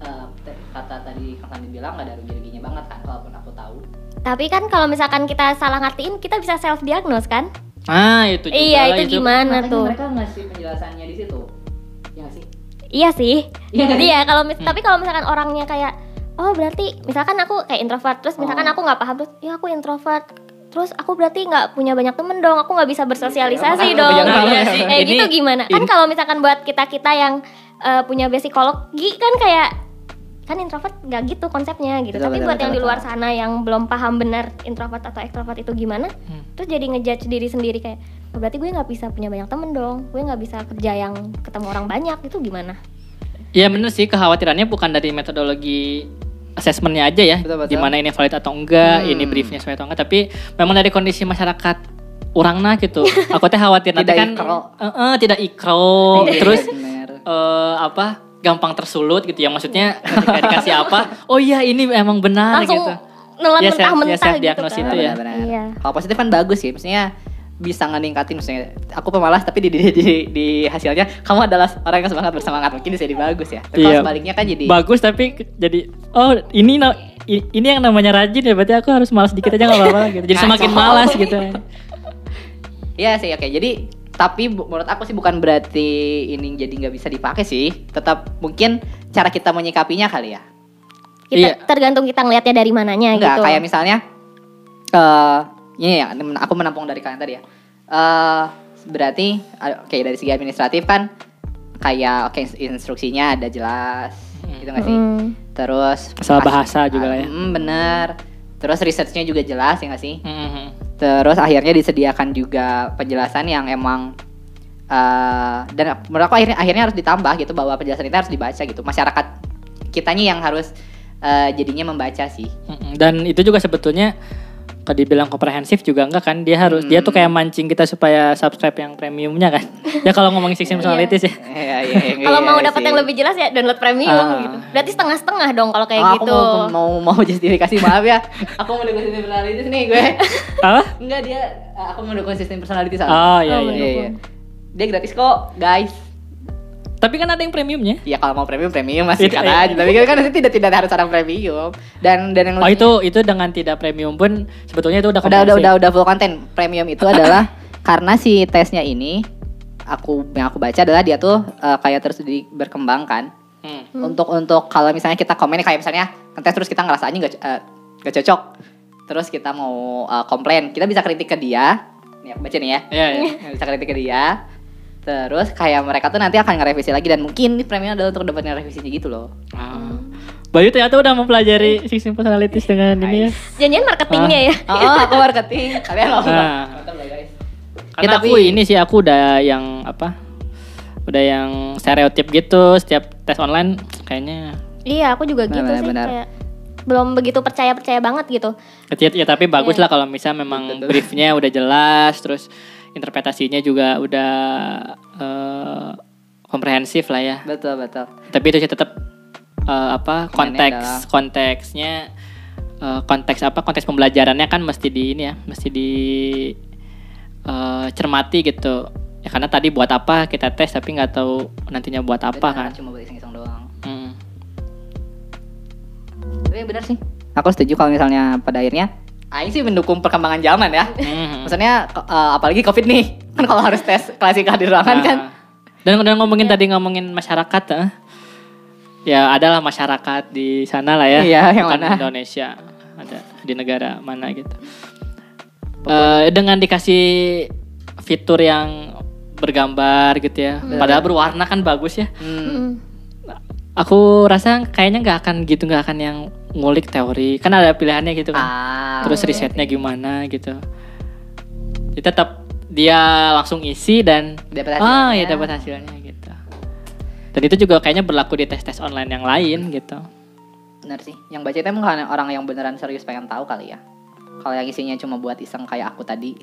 S1: eh, te- kata tadi Kang Sandi bilang nggak ada rugi-ruginya banget kan kalaupun aku tahu
S3: Tapi kan kalau misalkan kita salah ngertiin kita bisa self diagnose kan?
S2: Nah, itu juga
S3: Iya,
S2: lah,
S3: itu, gimana
S1: Makanya
S3: tuh?
S1: mereka ngasih penjelasannya di situ ya nggak sih
S3: Iya sih.
S1: Iya kan?
S3: Iya, kalau mis-
S2: Hmm.
S3: tapi kalau misalkan orangnya kayak oh berarti misalkan aku kayak introvert terus misalkan
S1: Oh.
S3: aku nggak paham terus ya aku introvert terus aku berarti nggak punya banyak temen dong aku nggak bisa bersosialisasi
S1: Iya,
S3: dong
S1: makanya
S2: iya sih.
S3: kayak
S2: Ini-
S3: gitu gimana kan
S2: ini-
S3: kalau misalkan buat kita kita yang eh, punya psikologi kan kayak kan introvert nggak gitu konsepnya gitu
S1: Betul,
S3: tapi
S1: betul,
S3: buat yang
S1: betul,
S3: di luar
S1: betul.
S3: sana yang belum paham benar introvert atau ekstrovert itu gimana
S2: Hmm.
S3: terus jadi ngejudge diri sendiri kayak "Oh, berarti gue nggak bisa punya banyak temen dong gue nggak bisa kerja yang ketemu orang banyak itu gimana
S2: Ya bener sih kekhawatirannya bukan dari metodologi asesmennya aja ya,
S1: Betul, betul.
S2: gimana ini valid atau enggak,
S1: Hmm.
S2: ini briefnya sesuai atau enggak, tapi memang dari kondisi masyarakat orangnya gitu. Aku teh khawatir nanti
S1: Tidak
S2: kan
S1: ikro.
S2: Eh, eh, tidak ikro,
S1: Iya,
S2: Oh, terus
S1: bener.
S2: eh, apa gampang tersulut gitu ya maksudnya ketika dikasih apa, oh iya ini emang benar
S3: langsung
S2: gitu.
S3: nelan
S2: Ya, self- ya,
S3: mentah-mentah gitu
S2: self-diagnose itu ya.
S3: kan
S1: Ah, Benar-benar.
S3: Iya.
S1: kalau positif kan bagus sih maksudnya bisa ngeningkatin maksudnya aku pemalas tapi di, di, di- di hasilnya kamu adalah orang yang semangat bersemangat mungkin bisa jadi bagus ya tapi kalau
S2: Iya.
S1: sebaliknya kan jadi
S2: Bagus tapi ke- jadi oh ini na- i- ini yang namanya rajin ya berarti aku harus malas dikit aja nggak apa-apa gitu. Jadi semakin
S1: Kacau.
S2: malas gitu.
S1: Iya sih, oke. Jadi tapi bu- menurut aku sih bukan berarti ini jadi nggak bisa dipakai sih. Tetap mungkin cara kita menyikapinya kali ya.
S3: kita
S2: Iya.
S3: tergantung kita ngelihatnya dari mananya
S1: Enggak,
S3: gitu
S1: kayak misalnya eh ini ya, men- aku menampung dari kalian tadi ya. Eh berarti eh, oke dari segi administratif kan kayak oke instruksinya ada jelas gitu nggak sih?
S3: Hmm.
S1: Terus
S2: Salah bahasa juga lah ya.
S1: Mm, bener. Terus researchnya juga jelas ya nggak sih?
S2: Mhm.
S1: Terus akhirnya disediakan juga penjelasan yang emang eh, dan menurut aku akhirnya akhirnya harus ditambah gitu bahwa penjelasan itu harus dibaca gitu. Masyarakat kitanya yang harus eh, jadinya membaca sih.
S2: Mm-mm. Dan itu juga sebetulnya kalau dibilang komprehensif juga enggak kan dia harus dia tuh
S1: Hmm.
S2: kayak mancing kita supaya subscribe yang premiumnya kan ya kalau ngomongin six personalities ya
S1: Iya, iya, iya,
S3: Kalau
S1: iya
S3: mau dapat
S1: sih.
S3: yang lebih jelas ya download premium
S1: Ah.
S3: gitu. Berarti setengah-setengah dong kalau kayak
S1: Oh, aku
S3: gitu.
S1: mau, mau mau justifikasi maaf ya. Aku mau dukung sistem personalities nih gue.
S2: apa
S1: Enggak dia eh, aku mau dukung sistem personalities. Al.
S2: oh iya iya
S3: Oh,
S1: Iya, iya. Dia gratis kok, guys.
S2: tapi kan ada yang premiumnya
S1: Ya kalau mau premium premium masih
S2: Itu,
S1: kan
S2: iya.
S1: aja. Tapi kan nanti tidak tidak harus orang premium. Dan dan yang
S2: oh itu itu dengan tidak premium pun sebetulnya itu
S1: udah
S2: udah
S1: udah
S2: komprehensif.
S1: udah udah full konten premium itu adalah karena si tesnya ini aku yang aku baca adalah dia tuh eh, kayak terus di- berkembang kan
S2: Hmm.
S3: Hmm.
S1: untuk untuk kalau misalnya kita komen kayak misalnya ngetes terus kita ngerasa anjing gak, eh, gak cocok terus kita mau eh, komplain kita bisa kritik ke dia nih aku baca nih ya
S2: Iya, iya.
S1: bisa kritik ke dia terus kayak mereka tuh nanti akan ngerevisi lagi dan mungkin ini premium adalah untuk dapetin revisinya gitu loh
S2: Ah. Bayu ternyata udah mempelajari six
S1: Iya.
S2: personalities dengan ini ya.
S3: Janjian marketingnya
S2: Ah.
S3: ya.
S1: oh, oh, aku marketing kalian mau
S2: Nah.
S1: Mantap lah, guys
S2: Karena
S1: Ya, tapi-
S2: aku ini sih aku udah yang apa? Udah yang stereotip gitu setiap tes online kayaknya
S3: Iya, aku juga gitu
S1: Benar,
S3: sih
S1: benar.
S3: kayak belum begitu percaya-percaya banget gitu.
S2: kecil ya tapi bagus lah kalau misal memang
S1: Betul.
S2: briefnya udah jelas terus interpretasinya juga udah eh, komprehensif lah ya.
S1: betul betul
S2: Tapi itu sih tetap eh, apa
S1: adalah-
S2: konteks konteksnya eh, konteks apa konteks pembelajarannya kan mesti di ini ya mesti di eh, cermati gitu ya karena tadi buat apa kita tes tapi nggak tahu nantinya buat apa
S1: Benar,
S2: kan
S1: cuma buat iseng-iseng doang
S2: Mm.
S1: tapi benar sih aku setuju kalau misalnya pada akhirnya Aing sih mendukung perkembangan zaman ya
S2: Mhm.
S1: maksudnya ke- eh, apalagi covid nih kan kalau harus tes klasika di ruangan
S2: Nah,
S1: kan Iya.
S2: dan udah ngomongin tadi ngomongin masyarakat eh. ya adalah masyarakat di sana lah ya
S1: Iya, yang
S2: Bukan
S1: mana?
S2: Indonesia ada di negara mana gitu Eh, dengan dikasih fitur yang bergambar gitu ya
S1: Iya.
S2: padahal berwarna kan bagus ya
S1: Hmm,
S3: Mm.
S2: aku rasa kayaknya nggak akan gitu nggak akan yang ngulik teori kan ada pilihannya gitu kan
S1: ah
S2: terus risetnya gimana gitu Jadi tetap dia langsung isi dan
S1: dapat
S2: Ah
S1: hasilnya.
S2: ya dapat hasilnya gitu. Dan itu juga kayaknya berlaku di tes-tes online yang lain gitu.
S1: benar sih yang baca itu emang kalau orang yang beneran serius pengen tahu kali ya kalau yang isinya cuma buat iseng kayak aku tadi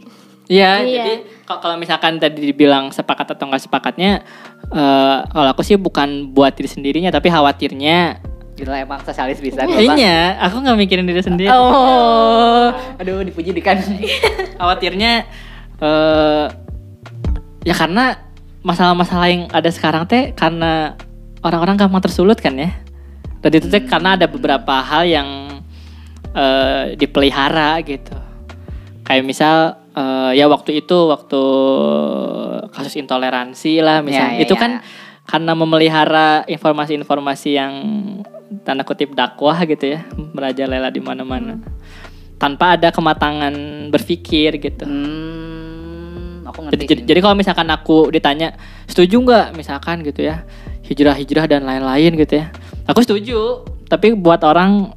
S2: Iya,
S3: Iya.
S2: jadi kalau kalau misalkan tadi dibilang sepakat atau nggak sepakatnya, eh, kalau aku sih bukan buat diri sendirinya, tapi khawatirnya.
S1: gitu lah, emang sosialis bisa Bapak.
S2: Iya, aku nggak mikirin diri sendiri.
S1: oh aduh dipuji kan. dikan
S2: Khawatirnya, eh, ya karena masalah-masalah yang ada sekarang teh karena orang-orang gampang tersulut kan ya. Dan itu
S1: Hmm.
S2: teh karena ada beberapa hal yang eh, dipelihara gitu. Kayak misal eh, ya waktu itu waktu kasus intoleransi lah misalnya.
S1: Ya, ya,
S2: itu
S1: ya.
S2: kan karena memelihara informasi-informasi yang tanda kutip dakwah gitu ya, merajalela di mana-mana. Tanpa ada kematangan berpikir gitu.
S1: hmm aku
S2: Jadi,
S1: ngerti
S2: jadi,
S1: sih.
S2: jadi kalau misalkan aku ditanya setuju nggak misalkan gitu ya hijrah-hijrah dan lain-lain gitu ya, aku setuju. Tapi buat orang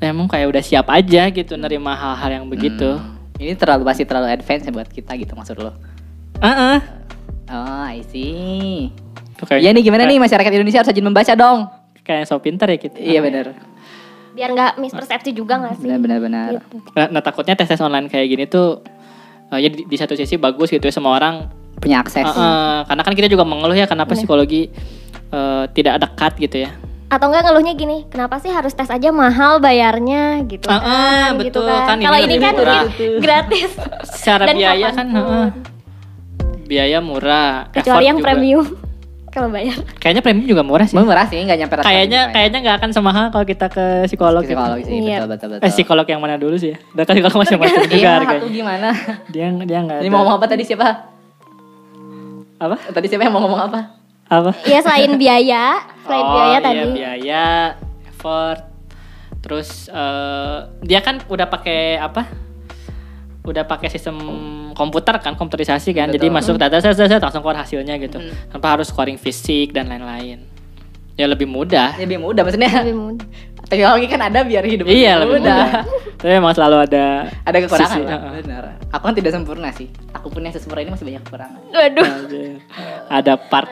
S2: "Ya, emang kayak udah siap aja gitu nerima hal-hal yang begitu.
S1: Hmm. Ini terlalu pasti terlalu advance ya buat kita gitu maksud lo.
S3: Hmm.
S2: Ah, ah.
S1: Oh, I see.
S2: Tuh kayak-
S1: Ya nih gimana nih masyarakat Indonesia harus rajin membaca dong.
S2: Iya, Kayak so pinter ya kita.
S1: Iya benar.
S3: Biar nggak mispersepsi juga nggak sih?
S1: Benar benar benar.
S3: Gitu.
S2: Nah, nah, takutnya tes tes online kayak gini tuh, eh, ya di, di satu sisi bagus gitu ya semua orang
S1: Punya akses.
S2: Ah, ah. karena kan kita juga mengeluh ya kenapa psikologi eh, tidak dekat gitu ya.
S3: Atau enggak ngeluhnya gini, kenapa sih harus tes aja mahal bayarnya gitu
S2: Ah, ah,
S3: kan? gitu
S2: betul,
S3: kan.
S2: kan ini
S3: Kalau ini
S2: lebih
S3: kan
S2: murah.
S3: gratis.
S2: Secara
S3: Dan
S2: biaya kan
S3: kapanpun.
S2: heeh. biaya murah, effort
S3: Kecuali yang
S2: juga.
S3: premium. Kalau bayar.
S2: Kayaknya premium juga murah sih.
S1: Mau murah sih nggak nyampe ratusan
S2: Kayaknya
S1: gitu,
S2: kayaknya nggak akan semahal kalau kita ke psikolog. gitu.
S1: psikolog sih
S3: Iya.
S1: betul betul betul.
S2: Eh psikolog yang mana dulu sih ya? Dan kan psikolog macam-macam juga
S1: Iya, aku
S2: harganya.
S1: gimana?
S2: Dia dia nggak.
S1: Ini
S2: ada-
S1: mau ngomong apa tadi siapa?
S2: apa?
S1: Tadi siapa yang mau ngomong apa?
S2: Apa?
S3: Iya selain biaya, selain
S2: Oh,
S3: biaya
S2: iya,
S3: tadi.
S2: biaya, effort. Terus eh, dia kan udah pakai apa? Udah pakai sistem komputer kan, komputerisasi kan. Jadi
S1: Betul.
S2: masuk data set, set, set, langsung keluar hasilnya gitu.
S1: Hmm.
S2: Tanpa harus scoring fisik dan lain-lain. Ya lebih mudah.
S1: Lebih mudah maksudnya.
S3: Lebih mudah.
S1: Teknologi kan ada biar hidup
S2: Iya,
S1: lebih
S2: lebih mudah. Tapi emang selalu ada
S1: Ada kekurangan
S2: sisi, ah.
S1: lah.
S2: heeh.
S1: Benar. Aku kan tidak sempurna sih. Aku pun yang sesempurna ini masih banyak kekurangan.
S3: Waduh.
S2: ada, ada part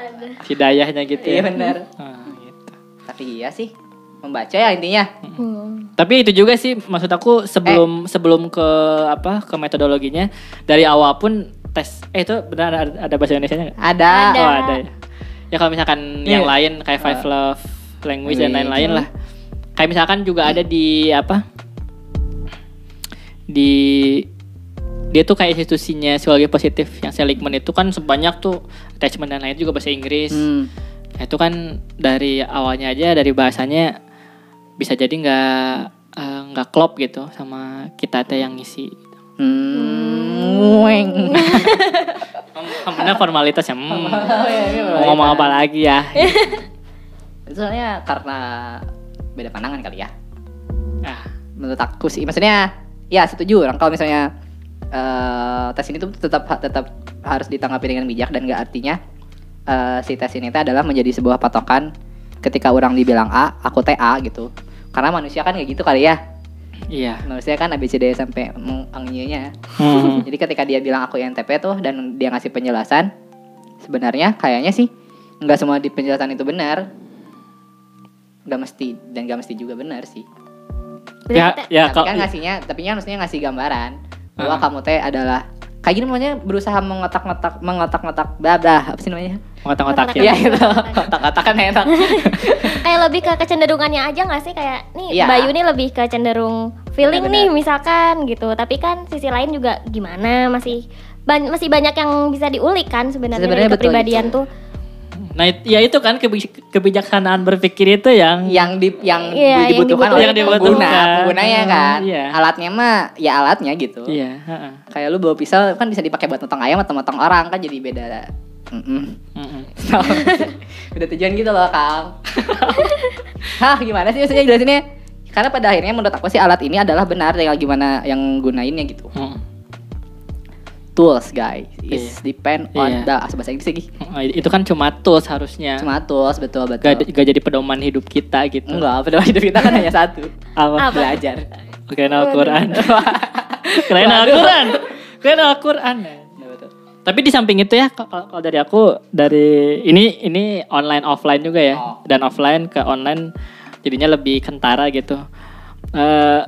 S2: hidayahnya gitu ya.
S1: Iya, benar.
S2: Ah, gitu.
S1: Tapi iya sih. Membaca ya intinya.
S3: Hmm.
S2: Tapi itu juga sih maksud aku sebelum sebelum ke apa ke metodologinya dari awal pun tes eh itu benar ada, ada bahasa Indonesia-nya nggak?
S1: Ada.
S3: Ada.
S2: Oh, ada ya. Ya kalau misalkan
S1: Iya.
S2: yang lain kayak Five Love Language dan
S1: Language.
S2: lain-lain lah. Kayak misalkan juga ada di apa? Di dia tuh kayak institusinya psikologi positif yang Seligman itu kan sebanyak tuh attachment dan lain juga bahasa Inggris.
S1: Hmm.
S2: Nah, itu kan dari awalnya aja dari bahasanya bisa jadi nggak eh, nggak klop gitu sama kita teh yang ngisi.
S1: Hmm. Weng.
S2: Benar formalitas ya. Hmm.
S1: Oh, iya,
S2: Mau ngomong apa lagi ya?
S1: Soalnya karena beda pandangan kali ya.
S2: Ah,
S1: menurut aku sih maksudnya ya setuju orang kalau misalnya eh, tes ini tuh tetap tetap harus ditanggapi dengan bijak dan gak artinya eh, si tes ini tuh adalah menjadi sebuah patokan ketika orang dibilang A aku teh A gitu karena manusia kan kayak gitu kali ya
S2: iya.
S1: manusia kan ABCD sampai menganginya
S2: Hmm.
S1: jadi ketika dia bilang aku INTP tuh dan dia ngasih penjelasan sebenarnya kayaknya sih nggak semua di penjelasan itu benar nggak mesti dan nggak mesti juga benar sih
S3: Berarti
S2: Ya,
S3: teh-
S2: ya
S1: tapi
S2: kalau
S1: kan ngasihnya, tapi kan harusnya ngasih gambaran bahwa
S2: Ah.
S1: kamu teh adalah kayak gini namanya berusaha mengotak-ngotak mengotak-ngotak blah blah apa sih namanya?
S2: ngotak-ngotakin.
S1: Iya gitu. Kotak-kotak kan
S2: ya,
S1: enak.
S3: kayak lebih ke kecenderungannya aja nggak sih kayak nih
S1: Iya.
S3: Bayu nih lebih ke cenderung feeling
S1: Benar-benar.
S3: nih misalkan gitu tapi kan sisi lain juga gimana masih ban- masih banyak yang bisa diulik kan sebenarnya
S1: Sebenarnya
S3: dari
S1: betul gitu.
S3: kepribadian
S1: itu.
S3: tuh
S2: Nah, it- ya itu kan kebi- kebijaksanaan berpikir itu yang
S1: yang di yang
S3: Iya, yang
S1: dibutuhkan oleh pengguna,
S2: dibutuhkan. Yang dibutuhkan.
S1: penggunanya kan.
S2: Iya.
S1: Alatnya mah ya alatnya gitu.
S2: Iya, heeh.
S1: Kayak lu bawa pisau kan bisa dipakai buat motong ayam atau motong orang kan jadi beda. Mm-mm.
S2: Mm-mm.
S1: Udah tujuan gitu loh Kang Hah gimana sih maksudnya jelasinnya Karena pada akhirnya menurut aku sih alat ini adalah benar Tinggal gimana yang gunainnya gitu
S2: Mm.
S1: Tools guys Is
S2: Iya.
S1: depend on
S2: Iya.
S1: the Asal bahasa Inggris lagi
S2: Mm, Itu kan cuma tools harusnya.
S1: Cuma tools betul betul
S2: Gak, gak jadi pedoman hidup kita gitu.
S1: Enggak pada hidup kita kan hanya satu
S2: Apa?
S3: Apa?
S1: Belajar
S2: Keren Al-Quran. Keren Al-Quran. Keren Al-Quran.
S1: Iya, betul.
S2: Tapi di samping itu ya kalau- kalau kalau dari aku dari ini ini online offline juga ya
S1: Oh.
S2: dan offline ke online jadinya lebih kentara gitu. Eh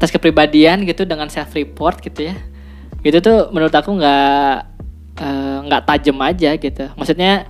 S2: tes kepribadian gitu dengan self report gitu ya. Gitu tuh menurut aku nggak eh, nggak tajem aja gitu. Maksudnya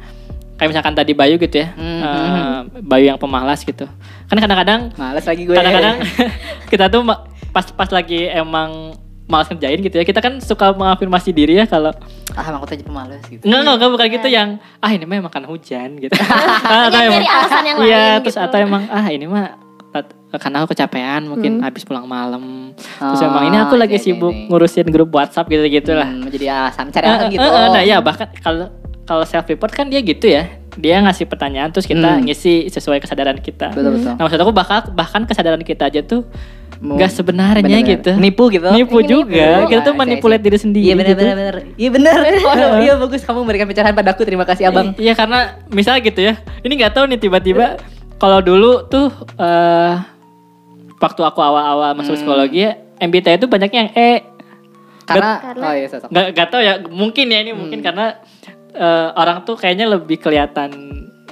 S2: kayak misalkan tadi Bayu gitu ya.
S1: Mhm.
S2: eh, Bayu yang pemalas gitu. Kan kadang-kadang
S1: Males lagi gue
S2: kadang-kadang kita tuh ma- pas pas lagi emang malas ngerjain gitu ya kita kan suka mengafirmasi diri ya kalau
S1: Ah emang aku tuh aja pemalas gitu
S2: enggak enggak enggak, bukan gitu yang ah ini mah emang karena hujan gitu
S1: Iya,
S2: Ah,
S3: Yang nyari alasan yang
S2: iya
S3: lain
S2: terus
S3: gitu.
S2: atau emang ah ini mah tat- karena aku kecapean mungkin habis pulang malam terus
S1: Hmm. Oh,
S2: emang ini aku
S1: iya,
S2: lagi
S1: iya,
S2: sibuk
S1: iya.
S2: ngurusin grup WhatsApp gitu gitulah
S1: Hmm, Menjadi alasan cari alasan gitu
S2: nah ya bahkan kalau kalau self report kan dia gitu ya dia ngasih pertanyaan terus kita
S1: Hmm.
S2: ngisi sesuai kesadaran kita
S1: Betul-betul.
S2: nah maksud aku bahkan bahkan kesadaran kita aja tuh
S1: Mau-
S2: nggak sebenarnya
S1: bener-bener.
S2: gitu.
S1: Nipu gitu
S2: nipu
S3: Ini
S2: juga
S3: nipu.
S2: kita tuh
S1: Ah,
S2: manipulate
S1: saya-
S2: diri sendiri
S1: Iya benar
S2: gitu.
S1: benar benar. Iya benar. Waduh, iya bagus kamu memberikan pencerahan padaku. Terima kasih Abang.
S2: Iya karena misalnya gitu ya. Ini nggak tahu nih tiba-tiba kalau dulu tuh eh waktu aku awal-awal masuk psikologi ya, MBTI itu banyaknya yang E.
S1: Karena,
S3: Karena-
S1: oh iya sosok.
S2: Nggak nggak tahu ya, mungkin ya ini mungkin karena eh, orang tuh kayaknya lebih kelihatan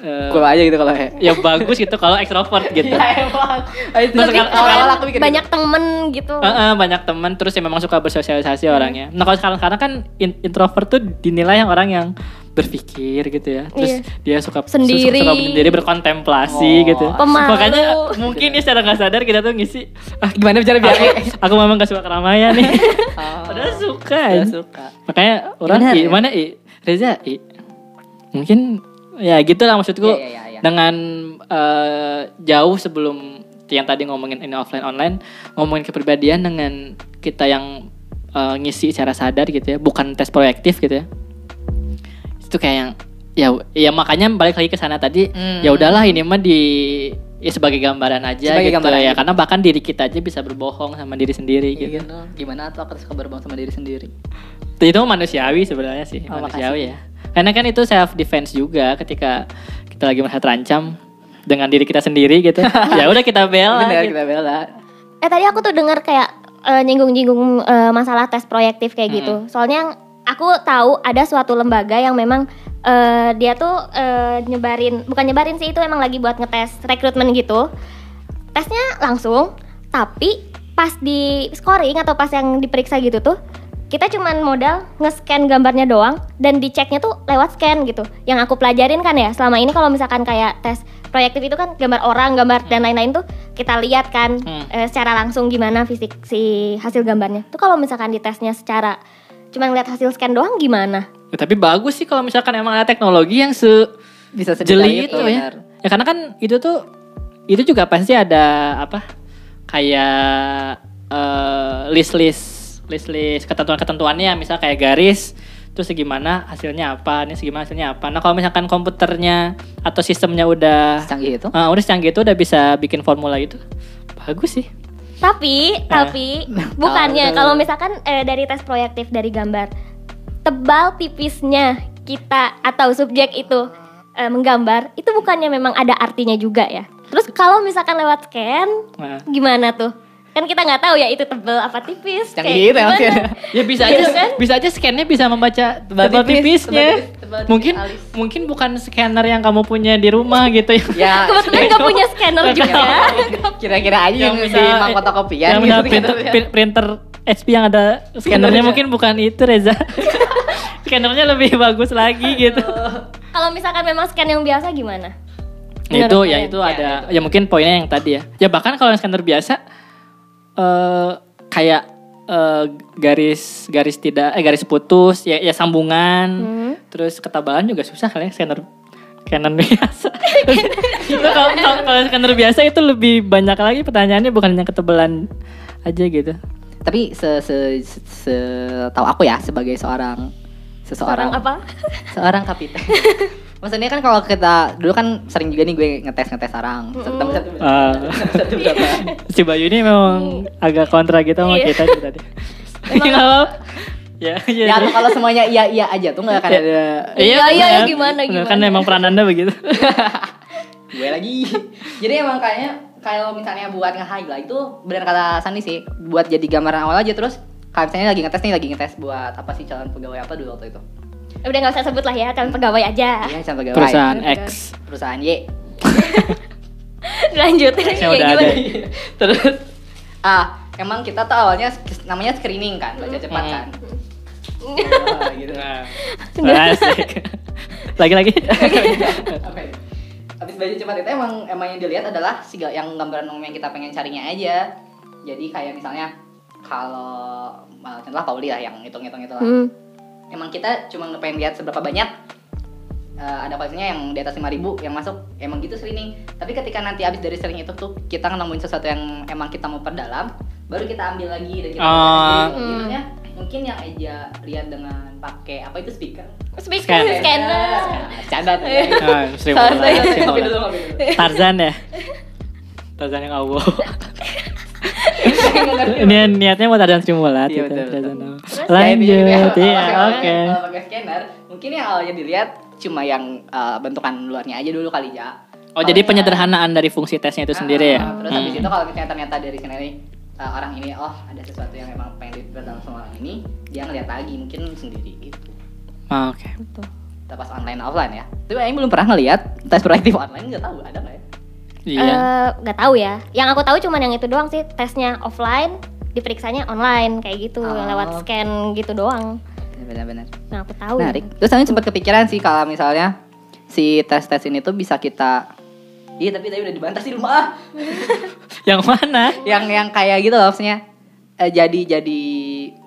S2: eh,
S1: Cool aja gitu kalau ya.
S2: ya bagus gitu kalau ekstrovert gitu.
S1: emang. Ah, Itu sekarang
S2: Nah, sekarang-
S1: awal
S2: sekarang
S1: aku mikir
S3: banyak temen gitu
S2: Heeh, banyak teman terus yang memang suka bersosialisasi orangnya.
S3: Hmm.
S2: Nah kalau sekarang sekarang kan in- introvert tuh dinilai yang orang yang berpikir gitu ya. Terus dia suka
S3: Iya. Sendiri.
S2: suka sendiri berkontemplasi
S1: Oh.
S2: gitu.
S3: Pemalu.
S2: Makanya mungkin ya secara nggak sadar kita tuh ngisi ah,
S1: gitu. gimana bicara biar
S2: aku, aku memang gak suka keramaian nih.
S1: Oh,
S2: Padahal suka.
S1: udah
S2: anjing.
S1: suka.
S2: Makanya orang
S1: Benar,
S2: i,
S1: ya?
S2: mana i? Reza i. Mungkin ya gitulah maksudku
S1: Iya, iya, iya, iya.
S2: dengan eh, jauh sebelum yang tadi ngomongin ini offline online ngomongin kepribadian dengan kita yang eh, ngisi secara sadar gitu ya bukan tes proyektif gitu ya itu kayak yang ya ya makanya balik lagi ke sana tadi
S1: Hmm.
S2: ya udahlah ini mah di ya sebagai gambaran aja
S1: Sebagai
S2: gitu
S1: gambaran
S2: ya
S1: gitu.
S2: karena bahkan diri kita aja bisa berbohong sama diri sendiri gitu
S1: Iya, gitu. Gimana tuh aku suka berbohong sama diri sendiri.
S2: itu manusiawi sebenarnya sih
S1: Oh,
S2: manusiawi ya karena kan itu self defense juga ketika kita lagi merasa terancam dengan diri kita sendiri gitu ya udah kita bela
S1: Benar
S2: gitu.
S1: kita bela.
S3: eh tadi aku tuh dengar kayak eh, nyinggung-nyinggung eh, masalah tes proyektif kayak gitu. Soalnya yang aku tahu ada suatu lembaga yang memang eh, dia tuh eh, nyebarin, bukan nyebarin sih itu emang lagi buat ngetes rekrutmen gitu. Tesnya langsung, tapi pas di scoring atau pas yang diperiksa gitu tuh kita cuman modal nge-scan gambarnya doang dan diceknya tuh lewat scan gitu. Yang aku pelajarin kan ya, selama ini kalau misalkan kayak tes proyektif itu kan gambar orang, gambar dan lain-lain tuh kita lihat kan
S2: Hmm.
S3: eh, secara langsung gimana fisik si hasil gambarnya. Tuh kalau misalkan di tesnya secara cuman lihat hasil scan doang gimana?
S2: Ya, tapi bagus sih kalau misalkan emang ada teknologi yang se
S1: bisa gitu, sedetail
S2: jeli itu ya.
S1: benar.
S2: Ya karena kan itu tuh itu juga pasti ada apa kayak eh, list-list list-list ketentuan-ketentuannya Ya, misal kayak garis terus segimana hasilnya apa ini segimana hasilnya apa. Nah kalau misalkan komputernya atau sistemnya udah
S1: Secanggih itu.
S2: eh, udah secanggih itu udah bisa bikin formula itu bagus sih.
S3: Tapi, tapi bukannya
S1: Eh. tahu.
S3: kalau misalkan eh, dari tes proyektif dari gambar tebal tipisnya kita atau subjek itu eh, menggambar itu bukannya memang ada artinya juga ya. Terus kalau misalkan lewat scan
S2: Nah,
S3: gimana tuh? Kan kita nggak tahu ya itu tebal apa tipis.
S1: Yang
S3: kayak
S1: gitu
S3: gimana.
S1: maksudnya.
S2: ya bisa
S3: Iya
S2: aja
S3: kan?
S2: bisa aja scannya bisa membaca
S1: Tebal
S2: tebal
S1: tipis,
S2: tipisnya
S1: tebal tipis, tebal tipis
S2: mungkin
S1: alis.
S2: mungkin bukan scanner yang kamu punya di rumah gitu ya
S1: Ya.
S3: Kebetulan nggak punya scanner juga.
S1: Kira-kira aja yang
S2: Yang
S1: di
S2: bisa-
S1: mangkok kopian
S2: yang
S1: gitu.
S2: misal printer, prin- printer HP yang ada scannernya mungkin bukan itu Reza scannernya lebih bagus lagi gitu
S1: Oh.
S3: Kalau misalkan memang scan yang biasa gimana?
S2: Nah,
S3: Menurut
S2: itu ya
S3: kalian?
S2: itu ada ya mungkin poinnya yang tadi ya ya bahkan kalau yang scanner biasa eh kayak eh, garis garis tidak eh garis putus ya ya sambungan
S3: Hmm.
S2: terus ketabalan juga susah kali ya scanner Canon biasa. itu kalau kalau- kalau scanner biasa itu lebih banyak lagi pertanyaannya bukan hanya ketebalan aja gitu.
S1: Tapi se se, se, se- tahu aku ya sebagai seorang
S3: Seorang
S1: seseorang
S3: apa?
S1: seorang kapiten. Maksudnya kan kalau kita dulu kan sering juga nih gue ngetes ngetes orang satu tambah satu Ya,
S2: Ah.
S1: satu berapa?
S2: si Bayu ini memang agak kontra gitu sama
S3: Iya.
S2: kita tuh tadi. Nggak apa-apa. Ya, iya.
S1: Ya atau kalau semuanya iya iya aja tuh nggak akan
S2: Ya.
S1: ada
S3: Iya, iya,
S2: benar.
S3: iya, gimana,
S2: Benar, Kan
S3: gimana.
S2: emang peran Anda begitu.
S1: gue lagi. Jadi emang kayaknya kalau misalnya buat nge-highlight itu benar kata Sandi sih buat jadi gambaran awal aja terus kalau misalnya lagi ngetes nih lagi ngetes buat apa sih calon pegawai apa dulu waktu itu?
S3: Udah nggak usah sebut lah ya, calon pegawai aja.
S1: Iya calon pegawai.
S2: Ah. Perusahaan
S3: Benar.
S2: X.
S1: perusahaan Y
S3: Lanjut. Iya,
S2: udah
S3: gimana?
S2: ada.
S1: terus ah emang kita tuh awalnya sk- namanya screening kan baca cepat
S2: Mm.
S1: kan Wah, gitu
S2: Nah, asik. Lagi-lagi.
S1: Apa ya? Habis baca cepat itu emang emang yang dilihat adalah si ga- yang gambaran umum yang kita pengen carinya aja jadi kayak misalnya kalau ah, contohnya Pauli lah yang hitung-hitung itu lah
S3: Hmm.
S1: emang kita cuma pengen lihat seberapa banyak eh, ada pasiennya yang di atas 5000 yang masuk emang gitu screening tapi ketika nanti abis dari screening itu tuh kita nemuin sesuatu yang emang kita mau perdalam baru kita ambil lagi dan kita ambil
S2: Ah.
S3: Hmm.
S1: lagi. Gitu ya. mungkin yang aja lihat dengan pakai apa itu speaker
S3: Speaker,
S2: Scan.
S3: scanner.
S1: canda tuh ya.
S2: Nah, Sri
S1: Santai,
S2: Mulat, Sri
S1: kopi
S2: Mulat.
S1: dulu, kopi dulu.
S2: Tarzan ya. Tarzan yang Allah.
S1: Nggak ngerti.
S2: Ini niatnya mau Tarzan Sri Mulat
S1: Iya,
S2: gitu.
S1: betul, betul.
S2: Tarzan Allah.
S3: Terus?
S2: Lanjut.
S1: Jadi,
S2: Iya,
S1: kalau pakai-
S2: oke.
S1: kalau pakai scanner mungkin yang awalnya dilihat cuma yang eh, bentukan luarnya aja dulu kali ya
S2: Oh,
S1: Kalau
S2: jadi
S1: yang-
S2: penyederhanaan dari fungsi tesnya itu sendiri ya.
S1: Ah, Terus
S2: Hmm.
S1: habis itu kalau misalnya ternyata dari sini nih uh, orang ini oh ada sesuatu yang emang pengen diperdalam sama orang ini, dia ngeliat lagi mungkin sendiri gitu.
S2: Ah, Oke.
S1: Kita pas online offline ya. Tapi Aing belum pernah ngeliat tes proyektif online nggak tahu ada nggak ya?
S2: Iya.
S3: Eh, nggak tahu ya. Yang aku tahu cuman yang itu doang sih tesnya offline, diperiksanya online kayak gitu
S1: Oh.
S3: lewat scan gitu doang.
S1: Benar-benar.
S3: Nah aku tahu.
S1: Menarik. Terus Aing sempat kepikiran sih kalau misalnya si tes tes ini tuh bisa kita Iya tapi tadi udah dibantah sih rumah.
S2: Yang mana?
S1: yang yang kayak gitu loh maksudnya. Eh, jadi jadi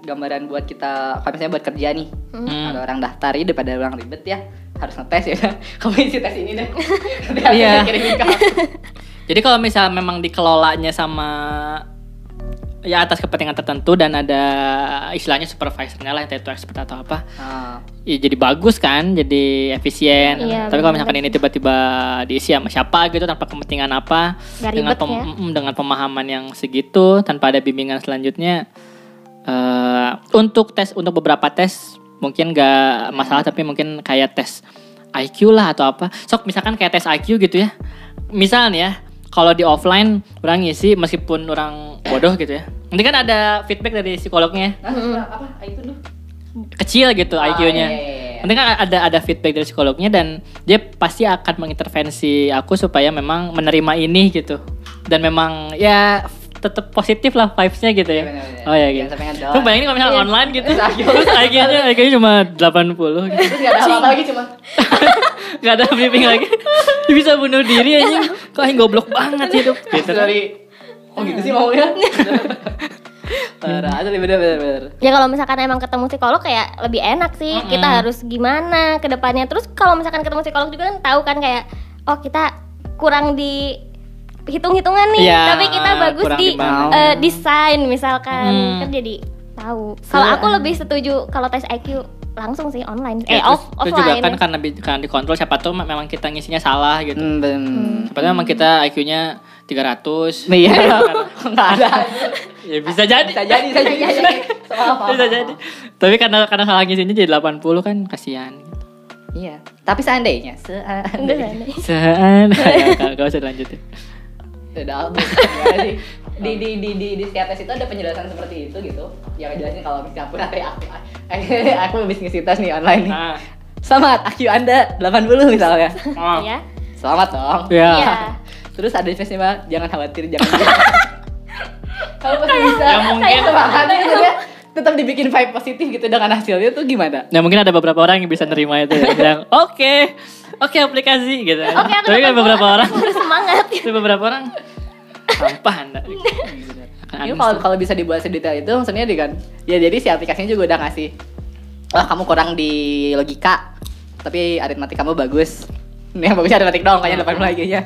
S1: gambaran buat kita kalau misalnya buat kerja nih
S2: Hmm.
S1: Kalau orang daftar ya daripada orang ribet ya harus ngetes ya. Kamu isi tes ini deh. Nanti hasilnya
S2: Iya.
S1: kirimin ke aku.
S2: Jadi kalau misal memang dikelolanya sama ya atas kepentingan tertentu dan ada istilahnya supervisornya lah entah itu expert atau apa
S1: Ah,
S2: ya jadi bagus kan jadi efisien
S3: Iya,
S2: tapi kalau
S3: benar
S2: misalkan
S3: sih.
S2: ini tiba-tiba diisi sama siapa gitu tanpa kepentingan apa
S3: Nggak
S2: dengan
S3: ribet ya.
S2: mm, dengan pemahaman yang segitu tanpa ada bimbingan selanjutnya eh untuk tes untuk beberapa tes mungkin nggak masalah tapi mungkin kayak tes IQ lah atau apa sok misalkan kayak tes IQ gitu ya misal nih ya kalau di offline orang ngisi meskipun orang bodoh gitu ya Nanti kan ada feedback dari psikolognya.
S1: Hah? apa itu dulu
S2: kecil gitu
S1: Ah, iya,
S2: IQ-nya.
S1: iya, iya.
S2: Nanti kan ada ada feedback dari psikolognya dan dia pasti akan mengintervensi aku supaya memang menerima ini gitu. Dan memang ya tetap positif lah vibes-nya gitu
S1: Iya,
S2: ya.
S1: benar-benar.
S2: Oh ya
S1: Jangan
S2: gitu.
S1: sampai ngedown.
S2: Lu bayangin kalau misalnya
S1: Iya.
S2: online gitu.
S1: Sakit.
S2: Terus IQ-nya IQ-nya cuma 80 gitu.
S1: terus nggak ada apa lagi cuma
S2: Gak ada briefing lagi. Dia bisa bunuh diri anjing. Kok anjing goblok banget hidup gitu.
S1: dari oh gitu sih maunya parah asli bener bener bener
S3: Ya kalau misalkan emang ketemu psikolog kayak lebih enak sih. Kita harus gimana ke depannya. Terus kalau misalkan ketemu psikolog juga kan tahu kan kayak oh kita kurang di hitung-hitungan nih,
S2: Iya,
S3: tapi kita bagus
S2: kurang
S3: di
S2: di mana.
S3: eh, desain misalkan.
S2: Hmm.
S3: Kan jadi tahu. Kalau aku lebih setuju kalau tes IQ langsung sih online. Eh,
S2: terus-
S3: off,
S2: Gitu. terus
S3: offline.
S2: juga kan karena bi- karena dikontrol siapa tuh memang kita ngisinya salah gitu.
S1: hmm, ben
S2: Siapa tahu emang kita IQ-nya 300.
S1: Nah, iya nggak ada
S2: ya bisa jadi.
S1: bisa jadi bisa jadi soal apa
S2: Bisa jadi. Tapi karena karena salah ngisinya jadi 80 kan kasihan.
S1: iya tapi seandainya
S2: kan
S3: Enggak,
S1: seandainya
S3: enggak.
S2: Sean. ya, gak, gak usah dilanjutin.
S1: Udah abis Nggak sih. di di di di di setiap tes itu ada penjelasan seperti itu gitu ya jelasin kalau misalnya pun nanti aku aku habis ngisi tes nih online nih
S2: Nah.
S1: selamat IQ anda 80 misalnya
S2: Oh.
S3: Iya.
S1: selamat dong
S2: Ya.
S3: Iya.
S1: terus ada festival jangan khawatir jangan kalau masih bisa
S2: Ya mungkin.
S1: semangat gitu ya. tetap dibikin vibe positif gitu dengan hasilnya tuh gimana
S2: Nah mungkin ada beberapa orang yang bisa nerima itu ya. Bilang oke, oke aplikasi gitu.
S3: Oke, aku
S2: Tapi kan
S3: depan
S2: beberapa
S3: dulu,
S2: orang,
S3: aku harus semangat.
S2: tapi beberapa orang sampah anda. Akan
S1: Ini
S2: uninstall.
S1: Iya, kalau kalau bisa dibuat sedetail itu maksudnya dia kan ya jadi si aplikasinya juga udah ngasih wah kamu kurang di logika tapi aritmatik kamu bagus ini yang bagusnya aritmatik dong kayaknya depan lagi ya